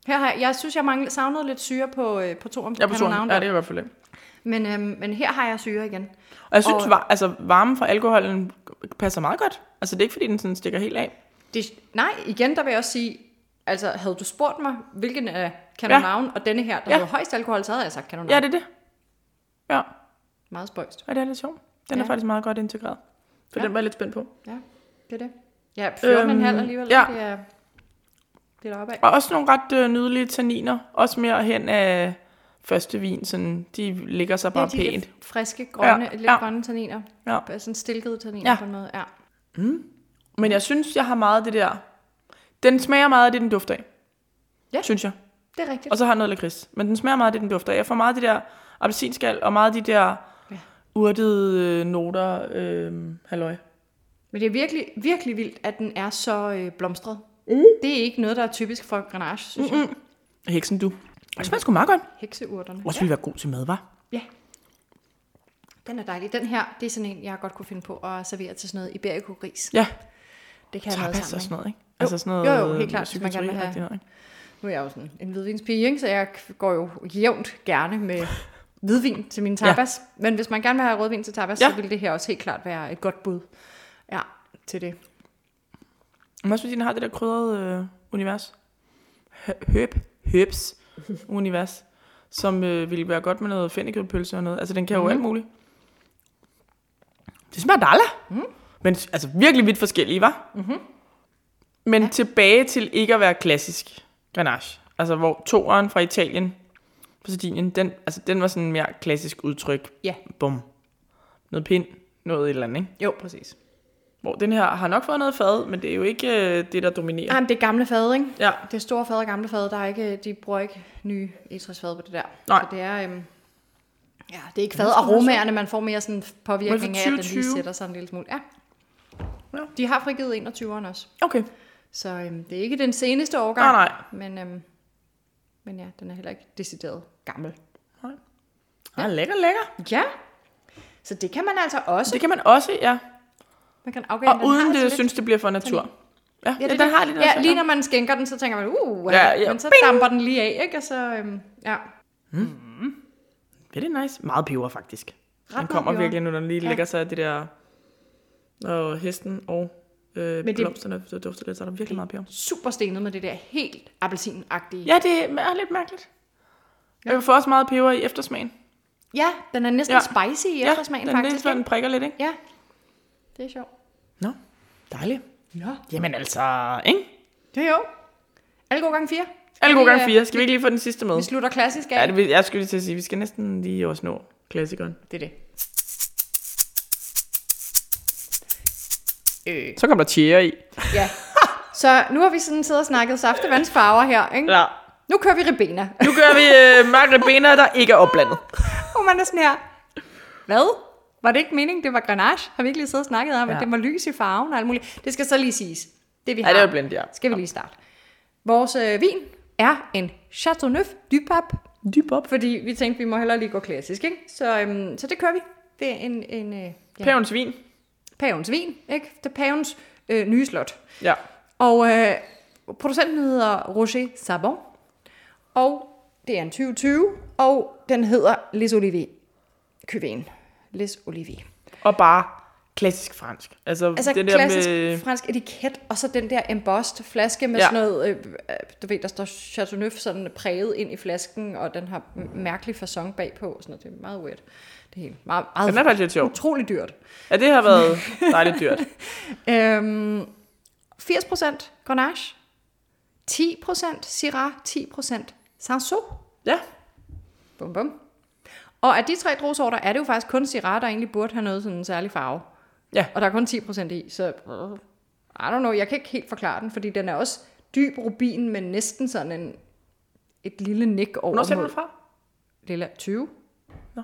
A: Her har jeg, jeg synes, jeg manglede, savnede lidt syre på, øh, på toren.
B: Jeg er på
A: Canon
B: turen.
A: Navn
B: Ja,
A: der.
B: det kan jeg godt forlænge.
A: Men, øhm, men her har jeg syre igen.
B: Og jeg synes,
A: Og-
B: var, altså, varmen fra alkoholen passer meget godt. Altså, det er ikke, fordi den sådan stikker helt af.
A: Det, nej, igen, der vil jeg også sige, altså havde du spurgt mig, hvilken af Canon
B: Ja.
A: ja. og denne her, der
B: Ja.
A: ja. havde højst alkohol, så havde jeg sagt Canon
B: Ja, det er det. Ja,
A: Meget spøjst.
B: og det er lidt sjovt. Den ja. er
A: Ja.
B: faktisk meget godt integreret. For ja.
A: Ja.
B: den var jeg lidt spændt på.
A: Ja, det er det. Ja, 14,5 øhm,
B: Øhm,
A: alligevel.
B: ja.
A: Det er, det er deroppe af.
B: Og også nogle ret øh, nydelige tanniner. Også mere hen af første vin. Sådan, de ligger sig bare
A: Ja, de er
B: pænt.
A: lidt friske,
B: Ja,
A: grønne, ja, lidt
B: ja.
A: ja. grønne tanniner.
B: Ja.
A: Ja. Sådan stilkede tanniner
B: Ja.
A: ja. på en måde. Ja.
B: Men jeg synes, jeg har meget af det der. Den smager meget af det, den dufter af.
A: Ja.
B: Synes jeg.
A: Det er rigtigt.
B: Og så har jeg noget lakrids. Men den smager meget af det, den dufter af. Jeg får meget af det der appelsinskal, og meget af de der
A: Ja.
B: urtede øh, noter. Øh, halløj.
A: Men det er virkelig, virkelig vildt, at den er så øh, blomstret. Mm. Det er ikke noget, der er typisk for Grenache, synes mm. jeg.
B: Heksen, du. Det smager sgu meget godt.
A: Mm. Hekseurterne.
B: Også ville være god til mad, var.
A: Ja. Den er dejlig. Den her, det er sådan en, jeg godt kunne finde på at servere til sådan noget iberico-gris.
B: Ja,
A: Det kan jeg noget
B: tapas og
A: sammen.
B: sådan
A: Med.
B: noget, ikke?
A: Jo, jo, jo, helt klart, hvis man gerne vil have-
B: psykiatri-agtigt noget, ikke?
A: Nu er jeg jo sådan en hvidvinspige, ikke? så jeg k- går jo jævnt gerne med hvidvin til mine tapas. Ja. Men hvis man gerne vil have rødvin til tapas, ja.
B: Ja.
A: så vil det her også helt klart være et godt bud ja, til det.
B: Men også fordi den har det der krydrede øh, univers. Hø- Høb. Høbs univers. Som øh, ville være godt med noget fennikelpølse og noget. Altså, den kan jo
A: Mhm.
B: alt muligt. Det smager dejligt.
A: Mhm.
B: Mm. Men altså virkelig vidt forskellige, var. Mm-hmm. Men ja. tilbage til ikke at være klassisk Grenache. Altså, hvor toeren fra Italien, fra Sardinien, den, altså, den var sådan en mere klassisk udtryk.
A: Ja.
B: Bum. Noget pind, noget et eller andet, ikke?
A: Jo, præcis.
B: Hvor den her har nok fået noget fad, men det er jo ikke øh, det, der dominerer.
A: Ja. Jamen, det er gamle fad, ikke?
B: Ja.
A: Det er store fad og gamle fad, der er ikke, de bruger ikke nye egetræsfad på det der.
B: Nej.
A: Så det er, øhm, ja, det er ikke
B: Men det
A: fad
B: skal man
A: aromaerne, man får mere sådan påvirkning
B: Men
A: af,
B: for
A: at den lige
B: 2020?
A: sætter sig en lille smule. Ja.
B: Ja.
A: De har frigivet 21'eren også,
B: Okay.
A: så øhm, det er ikke den seneste
B: Nej,
A: årgang,
B: nej.
A: men, øhm, men ja, den er heller ikke decideret gammel.
B: Ja. Ah, lækker, lækker.
A: Ja, så det kan man altså også.
B: Det kan man også, ja.
A: Man kan afgøre,
B: Og
A: om den har
B: uden
A: altså
B: det,
A: lidt-
B: synes det bliver for natur. Ja, ja,
A: det
B: ja
A: er
B: den
A: det.
B: har lige noget.
A: Ja,
B: salt.
A: lige når man skænker den, så tænker man, uh,
B: Ja, ja,
A: men så
B: bing!
A: damper den lige af, ikke? Og så, øhm, ja.
B: Det er nice. Meget peber, faktisk. den
A: meget
B: kommer
A: peber.
B: virkelig nu, når den lige
A: Ja.
B: ja. lægger sig af det der... Og hesten og øh,
A: det-
B: blomsterne, der dufter lidt, så er der virkelig meget peber.
A: super stenet med det der helt appelsinagtige.
B: Ja, det er lidt mærkeligt. Ja. Jeg får også meget peber i eftersmagen.
A: ja, den er næsten ja.
B: Ja.
A: spicy i eftersmagen
B: ja,
A: ja,
B: den,
A: faktisk.
B: Den, den
A: ikke?
B: prikker lidt, ikke?
A: Ja, det er sjovt.
B: Nå, dejligt.
A: Ja.
B: Jamen altså, ikke?
A: Det er jo. Alle gode gange fire. Skal
B: Alle
A: vi,
B: gode gange
A: øh,
B: fire. Skal vi ikke lige få den sidste med?
A: Vi slutter klassisk af.
B: Ja, det, vil- jeg skulle lige til at sige, vi skal næsten lige også nå klassikeren.
A: det er det. Øh,
B: Så kom der tjære i.
A: ja. Så nu har vi sådan siddet og snakket saftevandsfarver her, ikke?
B: Ja.
A: Nu kører vi ribena.
B: Nu gør vi øh, margaribiner, der ikke er opblandet.
A: Og man er sådan her. Hvad? Var det ikke meningen, det var Grenache? Har vi ikke lige siddet og snakket om, ja. at
B: Ja.
A: det var lys i farven og alt muligt? Det skal så lige siges. Det vi
B: Ja,
A: har.
B: det er jo blandet, ja.
A: skal vi lige starte. Vores øh, vin er en Chateauneuf du Pape,
B: Dyb op.
A: fordi vi tænkte, vi må hellere lige gå klassisk, ikke? Så, øhm, så det kører vi. Det er en, en øh,
B: Ja.
A: ja,
B: Pavens vin.
A: pavens vin, ikke? Det er pavens øh, nye slot.
B: Ja.
A: Og øh, producenten hedder Roger Sabon, og det er en 2020, og den hedder Les Oliviers Cuvée. Les Oliviers.
B: Og bare klassisk fransk. Altså,
A: Altså
B: det
A: det
B: der
A: klassisk
B: med...
A: med... fransk etiket, og så den der embossed flaske med ja.
B: Ja.
A: sådan noget, øh, øh, du ved, der står Chateauneuf sådan præget ind i flasken, og den har m- mærkelig fasong bagpå, og sådan noget. Det er meget weird. Det er helt meget, meget
B: Den er faktisk lidt sjov.
A: utrolig dyrt.
B: Ja, det har været dejligt dyrt.
A: Øhm, 80% Grenache, 10% Syrah, 10% Sanso.
B: Ja.
A: Bum, bum. Og af de tre druesorter er det jo faktisk kun Syrah, der egentlig burde have noget sådan en særlig farve.
B: Ja.
A: Og der er kun 10% i, så øh, I don't know, jeg kan ikke helt forklare den, fordi den er også dyb rubin, men næsten sådan en, et lille nik over
B: Hvornår ser du
A: mod
B: den fra?
A: lilla 20.
B: Nå.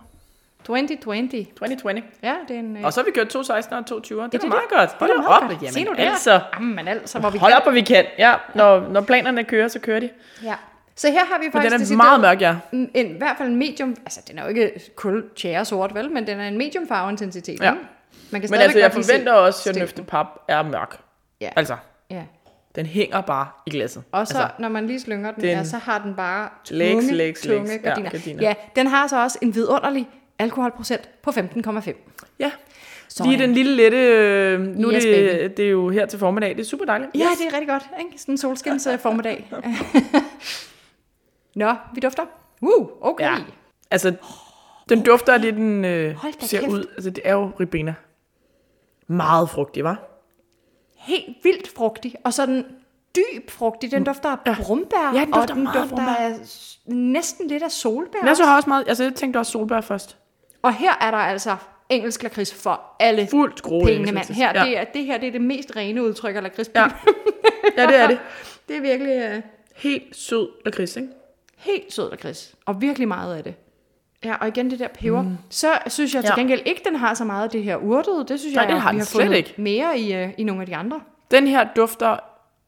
A: 2020.
B: 2020.
A: Ja, det er en... øh,
B: Og så har vi kørt to 16'ere og to 20'ere. Det
A: Ja,
B: er
A: det er
B: da meget godt. Hold
A: da
B: da
A: meget
B: op.
A: godt.
B: Jamen,
A: Se nu der.
B: altså.
A: Jamen altså, hvor vi
B: Hold op, hvor vi kan. Ja, når, når planerne kører, så kører de.
A: Ja. Så her har vi
B: Men
A: faktisk
B: den er meget
A: decideret
B: mørk, ja.
A: en, en, i hvert fald en medium, altså den er jo ikke kul tjære sort, vel, men den er en medium farveintensitet.
B: Ja.
A: ikke? Man kan
B: Men
A: stadigvæk
B: altså, jeg
A: godt lige se
B: forventer også, at
A: stilken.
B: Nøfte Pap er mørk.
A: Ja.
B: Altså,
A: Ja.
B: den hænger bare i glasset.
A: Og så,
B: altså,
A: altså, når man lige slynger den, den
B: den-
A: ja, så har den bare tunge,
B: Legs,
A: legs,
B: legs, legs.
A: tunge
B: Ja,
A: gardiner. Ja,
B: gardiner.
A: ja, den har så også en vidunderlig alkoholprocent på 15,5.
B: ja.
A: Sådan.
B: Lige den lille lette, øh, nu
A: Yes,
B: yes, det, det er jo her til formiddag, det er super dejligt.
A: Ja, det er rigtig godt. Ikke? Sådan en solskins øh, formiddag. Nå, vi dufter. Uh, okay. Ja.
B: Ja. Altså, den dufter af det, den øh,
A: Hold da
B: ser
A: kæft.
B: ud. Altså, det er jo ribena. Meget frugtig, var?
A: Helt vildt frugtig, og sådan dyb frugtig. Den dufter af brumbær,
B: Mm. Ja, den
A: og
B: dufter
A: den
B: meget af
A: dufter
B: brombær.
A: af s- næsten lidt af solbær.
B: Men jeg så
A: også.
B: har også meget, altså jeg tænkte også solbær først.
A: Og her er der altså engelsk lakrids for alle
B: Fuldt groet
A: pengene,
B: engelsk lakrids.
A: mand. Her,
B: Ja.
A: det, er, det her det er det mest rene udtryk af lakrids.
B: Ja. Ja, det er det.
A: Det er virkelig... Øh,
B: Helt sød lakrids, ikke?
A: Helt sød og gris. Og virkelig meget af det. Ja, og igen det der peber. Mm. Så synes jeg til
B: Ja.
A: gengæld ikke, den har så meget af det her urtede. Det synes
B: Nej,
A: jeg,
B: det har
A: vi
B: den
A: har
B: slet
A: fundet
B: ikke.
A: mere i, øh, i nogle af de andre.
B: Den her dufter,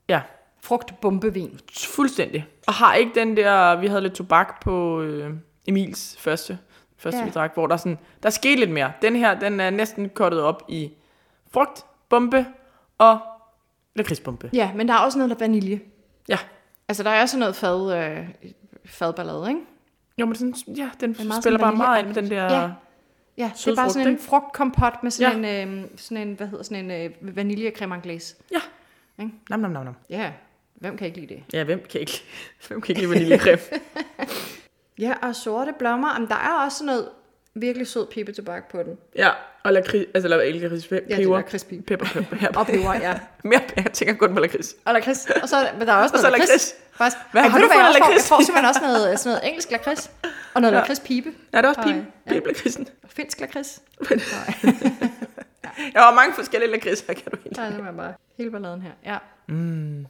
B: ja,
A: Frugtbombevin.
B: Fuldstændig. Og har ikke den der, vi havde lidt tobak på øh, Emils første, første
A: Ja.
B: ja. vi drak, hvor der, sådan, der skete lidt mere. Den her, den er næsten kottet op i frugt, bombe og lakridsbombe.
A: Ja, men der er også noget af vanilje.
B: Ja.
A: Altså, der er også noget fad, øh, fadballade, ikke?
B: Jo, men sådan, ja, den
A: er meget
B: spiller
A: sådan
B: bare meget ind med den
A: vaniljeagtigt.
B: der...
A: Ja. Ja, det er
B: Sød
A: bare
B: frugt,
A: sådan en
B: ikke?
A: frugtkompot med sådan, ja. en, øh, sådan en, hvad hedder sådan en øh, vaniljecreme anglaise.
B: ja.
A: Ikke?
B: Nam, nam, nam, nam.
A: Ja, hvem kan ikke lide det?
B: Ja, hvem kan ikke, hvem kan ikke lide vaniljekrem?
A: Ja, og sorte blommer. Jamen, der er også noget virkelig sød pibetobak på den.
B: ja, og lakrids, altså lakrids, peber.
A: Ja, det er krispig.
B: Pepper, pepper,
A: Og peber, ja.
B: Mere, jeg tænker kun på lakrids.
A: Og lakrids. Og så, men der er også
B: Og
A: noget
B: så lakrids.
A: Faktisk.
B: Hvad
A: Ej,
B: har
A: ved
B: du
A: hvad
B: for
A: jeg også får?
B: lakrids?
A: Jeg får simpelthen også noget, sådan noget engelsk lakrids. Og noget ja.
B: Ja.
A: lakridspibe.
B: Nej, det er også
A: Nej,
B: pibe,
A: ja.
B: pibe lakridsen.
A: Og Finsk lakrids.
B: Jeg har mange forskellige lakridser, kan du helt.
A: Der er simpelthen bare hele balladen her. Ja.
B: Men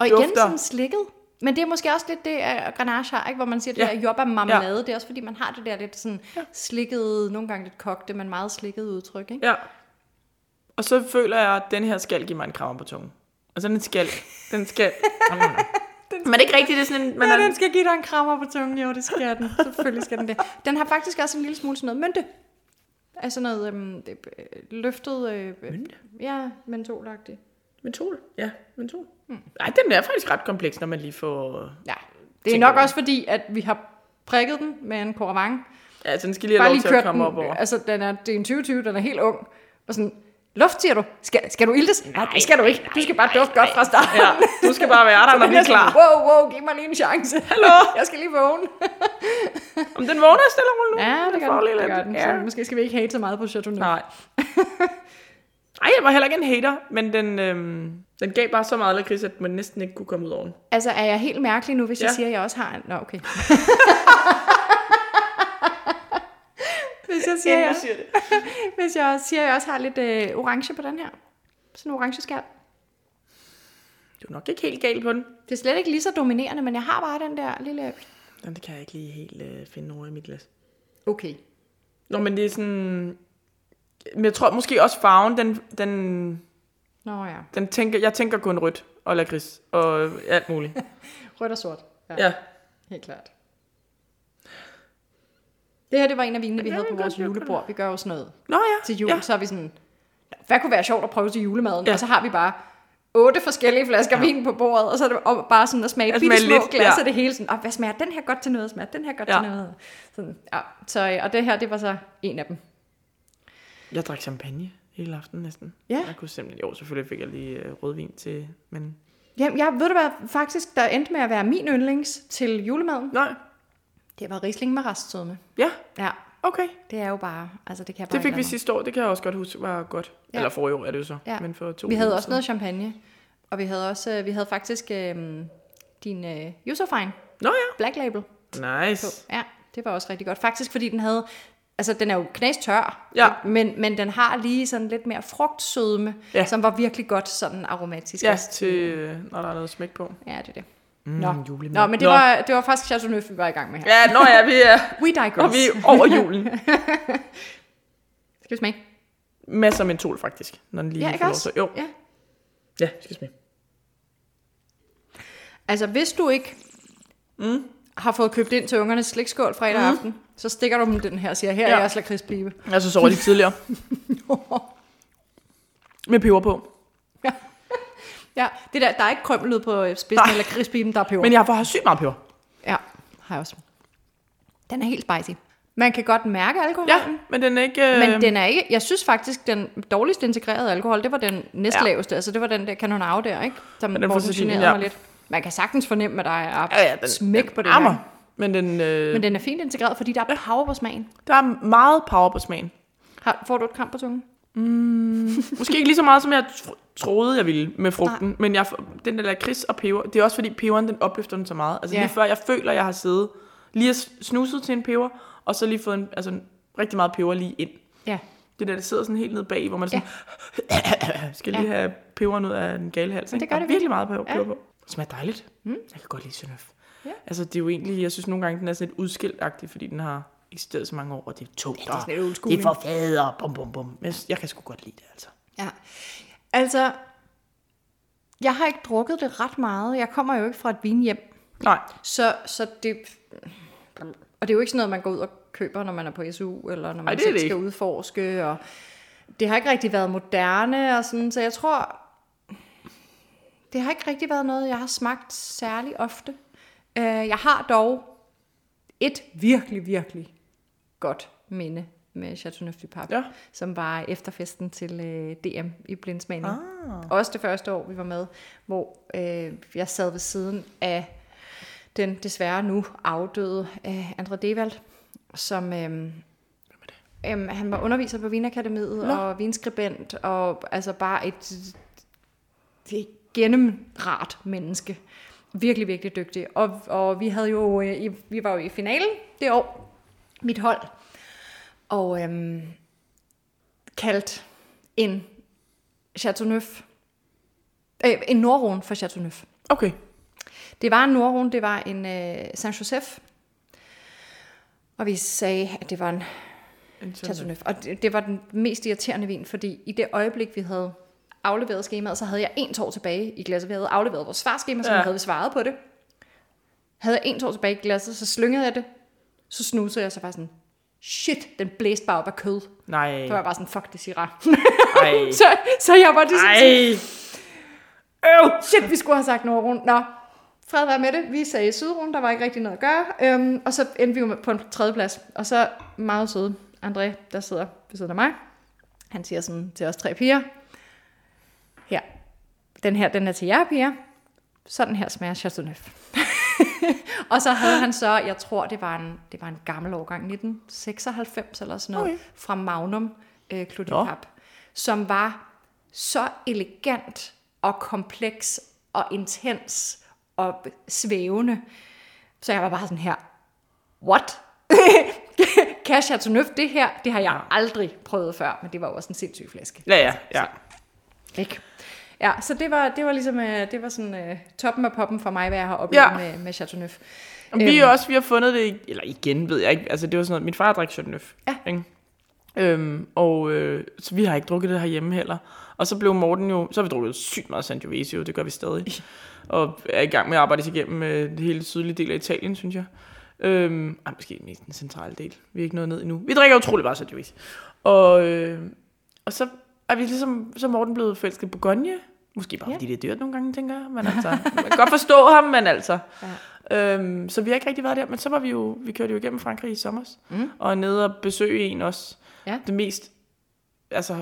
A: Og igen
B: Mm. dufter.
A: sådan slikket. Men det er måske også lidt det, uh, Grenache har, ikke? hvor man siger, det
B: Ja.
A: ja. der jordbærmarmelade. Ja. Det er også fordi, man har det der lidt sådan slikket, nogle gange lidt kogte, men meget slikket udtryk. Ikke?
B: Ja. Og så føler jeg, at den her skal give mig en krammer på tungen. Altså den skal, den skal. Nå, nå, nå. Men det er ikke rigtigt, det er sådan en... Men
A: Ja, den skal give dig en krammer på tungen. Jo, det skal den. Selvfølgelig skal den det. Den har faktisk også en lille smule sådan noget mynte. Altså noget øhm, det- øh, løftet... Øh, øh,
B: Mynte?
A: Ja, mentolagtigt.
B: Mentol, ja, mentol.
A: Mm.
B: Nej, den er faktisk ret kompleks, når man lige får...
A: Ja, det er
B: Tænker
A: nok
B: jeg.
A: også fordi, at vi har prikket den med en koravang.
B: Ja, altså den skal lige have
A: Bare
B: lov
A: lige
B: til at
A: kørt den.
B: komme op over.
A: Altså, den er, det er en 2020, den er helt ung. Og sådan, luft, siger du? Skal, skal du iltes? Nej, det skal du ikke. Du skal bare dufte godt fra starten.
B: Ja, du skal bare være der, når vi
A: Jeg
B: er
A: er sådan,
B: klar.
A: Wow, wow, giv mig lige en chance.
B: Hallo?
A: Jeg skal lige vågne.
B: Om den vågner stille og roligt nu?
A: Ja, det gør
B: får
A: den.
B: lige
A: Det
B: lidt.
A: gør den.
B: Ja.
A: Så måske skal vi ikke hate så meget på Chateauneuf.
B: Nej. Ej, jeg var heller ikke en hater, men den, øhm, den gav bare så meget lakrids, at man næsten ikke kunne komme ud over den.
A: Altså, er jeg helt mærkelig nu, hvis ja. jeg
B: Ja.
A: siger, at jeg også har en... Nå, okay. hvis, jeg siger, jeg,
B: siger det.
A: hvis jeg siger, at jeg også har lidt øh, orange på den her. Sådan en orange skærm.
B: Du er nok ikke helt gal på den.
A: Det er slet ikke lige så dominerende, men jeg har bare den der lille...
B: Jamen, det kan jeg ikke lige helt øh, finde over i mit glas.
A: Okay.
B: Nå, men det er sådan... Men jeg tror måske også farven, den, den,
A: Nå ja.
B: den tænker, jeg tænker kun rødt og lakrids og øh, alt muligt.
A: Rødt og sort.
B: ja.
A: Helt klart. Det her, det var en af vinene, vi
B: Ja,
A: havde
B: jeg
A: på
B: kan
A: vores
B: godt lide
A: julebord. Vi gør jo sådan noget
B: Nå ja.
A: til jul.
B: Ja.
A: Ja. Så er vi sådan, "Nå, hvad kunne være sjovt at prøve til julemaden? Ja.
B: Ja.
A: Og så har vi bare otte forskellige flasker ja. vin på bordet, og så er det og bare sådan at smage
B: At
A: bitte små
B: smage
A: lidt,
B: lidt,
A: glas
B: ja.
A: af det hele. Sådan, "Åh, hvad smager den her godt til noget? Smager den her godt
B: Ja.
A: til noget? Sådan, ja. så, øh, og det her, det var så en af dem.
B: Jeg drak champagne hele aftenen næsten.
A: Ja.
B: Jeg kunne simpelthen... Jo, selvfølgelig fik jeg lige øh, rødvin til, men...
A: Jamen, jeg ved du hvad, faktisk, der endte med at være min yndlings til julemaden.
B: Nej.
A: Det var Riesling med restsødme.
B: Ja,
A: Ja,
B: okay.
A: det er jo bare, altså det kan jeg bare
B: Det fik
A: ikke
B: vi
A: lade
B: sidste år, det kan jeg også godt huske var godt. Ja.
A: Ja.
B: Eller forrige år er det jo så,
A: Ja.
B: ja. men for to
A: Vi havde
B: år
A: også
B: siden.
A: noget champagne, og vi havde også øh, vi havde faktisk øh, din øh, Josephine
B: Nå ja,
A: Black Label.
B: nice.
A: Ja, det var også rigtig godt. Faktisk fordi den havde, altså den er jo knastør,
B: Ja.
A: men, men den har lige sådan lidt mere frugtsødme, ja.
B: Ja.
A: som var virkelig godt sådan aromatisk.
B: Ja,
A: også.
B: til, øh, når der er noget smæk på.
A: ja det er det.
B: Mm,
A: Nå.
B: julemad.
A: Nå, men det, Var, det var faktisk Chateauneuf, vi var i gang med her.
B: Ja, nå ja, vi er,
A: We digress.
B: og vi er over julen.
A: Skal vi smage?
B: Masser af mentol, faktisk, når den lige
A: Ja,
B: ja,
A: ikke
B: får lov.
A: også?
B: Så, jo.
A: Ja.
B: Ja, vi skal smage.
A: Altså, hvis du ikke mm. har fået købt ind til ungernes slikskål fredag mm. aften, så stikker du dem den her og siger, her ja. er
B: Ja.
A: jeres lakridspibe.
B: Jeg så sover de tidligere. Med peber på.
A: Ja, det der, der er ikke krømmel på øh, spidsen
B: Nej.
A: eller krispiben, der er peber.
B: Men jeg har har sygt meget peber.
A: Ja, har jeg også. Den er helt spicy. Man kan godt mærke alkoholen.
B: Ja, men den er ikke... Øh,
A: Men den er ikke, jeg synes faktisk, den dårligst integrerede alkohol, det var den næstlaveste. Altså, det var den der Cannonau der, ikke? Som
B: Men
A: den
B: den får
A: den
B: så sin-
A: generede ja.
B: ja.
A: mig lidt. Man kan sagtens fornemme, at der er
B: ja, ja, den,
A: smæk på den
B: ammer.
A: her.
B: Men den, øh,
A: Men den er fint integreret, fordi der er power på smagen.
B: der er meget power på smagen.
A: Har, får du et kram på tungen?
B: Måske ikke lige så meget, som jeg tro- troede, jeg ville med frugten. Nej. Men jeg, den der lakrids og peber, det er også fordi peberen, den opløfter den så meget. Altså
A: Ja.
B: ja. lige før jeg føler, jeg har siddet, lige s- snuset til en peber, og så lige fået en, altså, en- rigtig meget peber lige ind.
A: Ja.
B: Det der, der sidder sådan helt nede bag, hvor man sådan, ja. skal lige
A: Ja.
B: have peberen ud af den gale hals. Ikke?
A: det
B: Der
A: gør
B: er
A: det
B: virkelig meget peber,
A: Ja.
B: peber på. Det smager dejligt. Mm. Jeg kan godt lide Sønøf.
A: Ja.
B: Altså det er jo egentlig, jeg synes nogle gange, den er sådan lidt udskilt fordi den har eksisteret så mange år, og det er tungt. Ja,
A: det er sådan lidt old school,
B: det er for fader, bum bum bum. Men jeg, jeg kan sgu godt lide det, altså.
A: Ja. Altså, Jeg har ikke drukket det ret meget. Jeg kommer jo ikke fra et vinhjem.
B: Nej,
A: Så, så det... Og det er jo ikke sådan noget, man går ud og køber, når man er på SU, eller når man
B: Ej, det er
A: selv
B: det
A: skal
B: ikke.
A: udforske. Og det har ikke rigtig været moderne, og sådan, så jeg tror... Det har ikke rigtig været noget, jeg har smagt særlig ofte. Øh, Jeg har dog et virkelig, virkelig godt minde med Chateauneuf du Pape,
B: Ja.
A: som var efterfesten til øh, DM i Blindsmagen. Ah. Også det første år, vi var med, hvor øh, jeg sad ved siden af den desværre nu afdøde øh, Andre Devald, som øh, Øhm, han var underviser på Vinakademiet Nå. og vinskribent, og altså bare et, et gennemrart menneske. Virkelig, virkelig dygtig. Og, og vi, havde jo, øh, i, vi var jo i finalen det år, mit hold, og øhm, kaldt en Chateauneuf, øh, en Nordrun for Chateauneuf.
B: okay.
A: Det var en nordrun, det var en øh, San Josef. Og vi sagde, at det var en Chateauneuf. Og det, det var den mest irriterende vin, fordi i det øjeblik, vi havde afleveret skemaet, så havde jeg en tår tilbage i glasset. Vi havde afleveret vores svarskema, så
B: Ja.
A: ja. havde vi svaret på det. Havde jeg en tår tilbage i glasset, så slyngede jeg det. Så snusede jeg, så var jeg sådan, shit, den blæste bare op af kød. Så
B: Nej,
A: var jeg bare sådan, fuck det, Syrah.
B: ej,
A: så, så jeg var ligesom sådan,
B: ej. Øv!
A: Shit, vi skulle have sagt Nordrund. Nå, fred være med det. Vi sagde Sydrund, der var ikke rigtig noget at gøre. Øhm, og så endte vi jo med- på en tredjeplads. Og så meget søde André, der sidder ved siden af mig. Han siger sådan til os tre piger. Her, den her, den er til jer piger. Sådan her smager Chateauneuf. og så havde han så, jeg tror det var en, det var en gammel årgang, 1996 eller sådan noget,
B: Okay.
A: okay. fra Magnum øh, Clos du
B: Nå.
A: Pape, som var så elegant og kompleks og intens og svævende. Så jeg var bare sådan her, what? Kan Chateauneuf det her? Det har jeg aldrig prøvet før, men det var jo også en sindssyg flaske.
B: Ja, ja, ja.
A: Ikke? Ja, så det var, det var ligesom øh, det var sådan, øh, toppen af poppen for mig, hvad jeg har oplevet
B: Ja.
A: ja. med, med Chateauneuf.
B: Øhm. Vi er også, vi har fundet det, i- eller igen ved jeg ikke, altså det var sådan noget, min far drak Chateauneuf.
A: Ja.
B: Ikke? Øhm, og øh, så vi har ikke drukket det herhjemme heller. Og så blev Morten jo, så har vi drukket sygt meget Sangiovese, jo, det gør vi stadig. og er i gang med at arbejde sig igennem øh, det hele sydlige del af Italien, synes jeg. Øhm, ej, måske mest den centrale del. Vi er ikke nået ned endnu. Vi drikker utrolig meget Sangiovese. Og, øh, og så er vi ligesom, så er Morten blevet forelsket i Bourgogne. Måske bare,
A: Ja.
B: fordi det er dyrt nogle gange, tænker jeg. Men altså, man kan godt forstå ham, men altså. Øhm, så vi har ikke rigtig været der, men så var vi jo, vi kørte jo igennem Frankrig i sommer, mm. og er nede og besøge en også.
A: Ja.
B: Det mest, altså,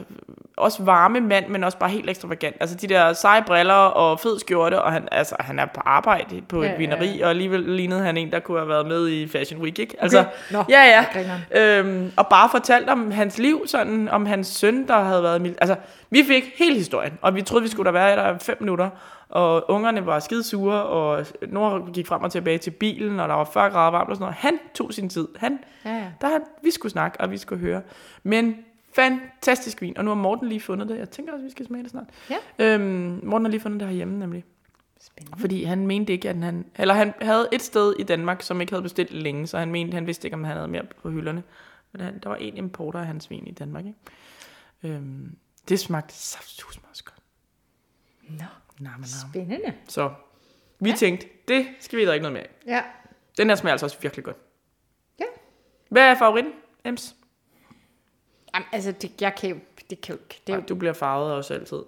B: også varme mand, men også bare helt ekstravagant. Altså de der seje briller og fed skjorte, og han, altså, han er på arbejde på
A: Ja,
B: et
A: ja,
B: vineri, og alligevel lignede han en, der kunne have været med i Fashion Week, ikke? Altså,
A: Nå,
B: ja, ja.
A: jeg griner.
B: Øhm, og bare fortalt om hans liv, sådan, om hans søn, der havde været... mil- Altså, vi fik hele historien, og vi troede, vi skulle der være der i fem minutter, og ungerne var skide sure, og Nora gik frem og tilbage til bilen, og der var 40 grader varmt og sådan noget. Han tog sin tid. Han,
A: Ja, ja.
B: der, han- vi skulle snakke, og vi skulle høre. Men fantastisk vin, og nu har Morten lige fundet det. Jeg tænker også, vi skal smage det snart.
A: Ja.
B: Øhm, Morten har lige fundet det herhjemme, nemlig.
A: Spændende.
B: Mm-hmm. Fordi han mente ikke, at han... Eller han havde et sted i Danmark, som ikke havde bestilt længe, så han mente, han vidste ikke, om han havde mere på hylderne. Men han, der var en importer af hans vin i Danmark, ikke? Øhm, det smagte saftsus meget godt.
A: Nå,
B: Nam, nam.
A: spændende.
B: Så vi ja. tænkte, det skal vi da ikke noget mere af.
A: Ja.
B: Den her smager altså også virkelig godt.
A: Ja.
B: Hvad er favoritten, Ems?
A: Jamen, altså, det, jeg kan jo, det kan jo, ikke- det er jo
B: Ej, du bliver farvet også altid.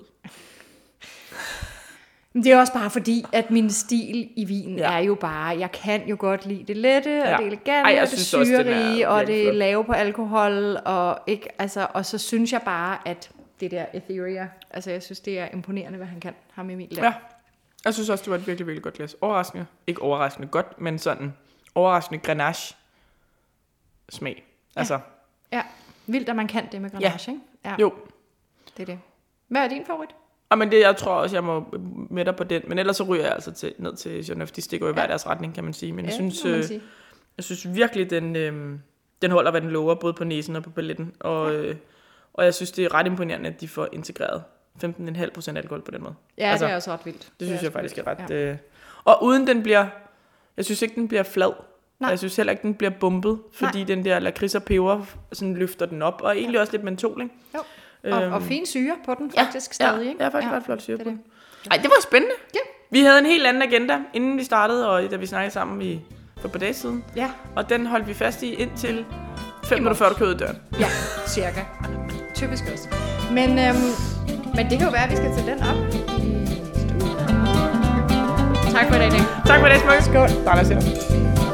A: Men Det er også bare fordi, at min stil i vin
B: Ja.
A: ja. er jo bare, jeg kan jo godt lide det lette, ja.
B: Ja.
A: og det
B: Ej,
A: elegante,
B: jeg
A: og det
B: synes også, den er
A: syrige, og
B: virkelig
A: det
B: flot.
A: lave på alkohol, og ikke, altså, og så synes jeg bare, at det der Etheria, altså jeg synes, det er imponerende, hvad han kan, ham Emil der.
B: Ja. Jeg synes også, det var et virkelig, virkelig godt glas. Overraskende. Ikke overraskende godt, men sådan overraskende grenache smag. Altså, ja.
A: ja. Vildt, at man kan det med Grenache, ja. ikke? Ja,
B: jo.
A: det er det. Hvad er din favorit?
B: Og Ah, men det, jeg tror også, jeg må med dig på den. Men ellers så ryger jeg altså til, ned til Genève. De stikker jo i hver deres retning, kan man sige. Men jeg, synes,
A: det må man
B: øh,
A: sige.
B: jeg synes virkelig, den, øh, den holder, hvad den lover, både på næsen og på balletten. Og, øh, og jeg synes, det er ret imponerende, at de får integreret 15,5% alkohol på den måde.
A: Ja, altså, det er også ret vildt.
B: Det synes jeg faktisk er ret...
A: Ja.
B: Ja. Øh, og uden den bliver... Jeg synes ikke, den bliver flad. Nej.
A: Nej.
B: Jeg synes heller ikke, den bliver bumpet, fordi Nej. den der lakrids og peber sådan løfter den op. Og egentlig ja. også lidt mentol, ikke? Øhm,
A: Jo. Og, og fin syre på den faktisk stadig,
B: ja,
A: ikke?
B: Ja, faktisk ja. ret flot syre
A: det
B: det
A: er
B: på den. Ej, det var spændende.
A: Ja.
B: Vi havde en helt anden agenda, inden vi startede, og da vi snakkede sammen i, for et par dage siden.
A: Ja,
B: Og den holdt vi fast i indtil 5 minutter før du kørte i døren.
A: ja, cirka. Typisk også. Men, øhm, men det kan jo være, at vi skal tage den op i næste uge. Tak for i dag, Nick.
B: Tak for det, Smukke. Skål. Dejligt at se dig.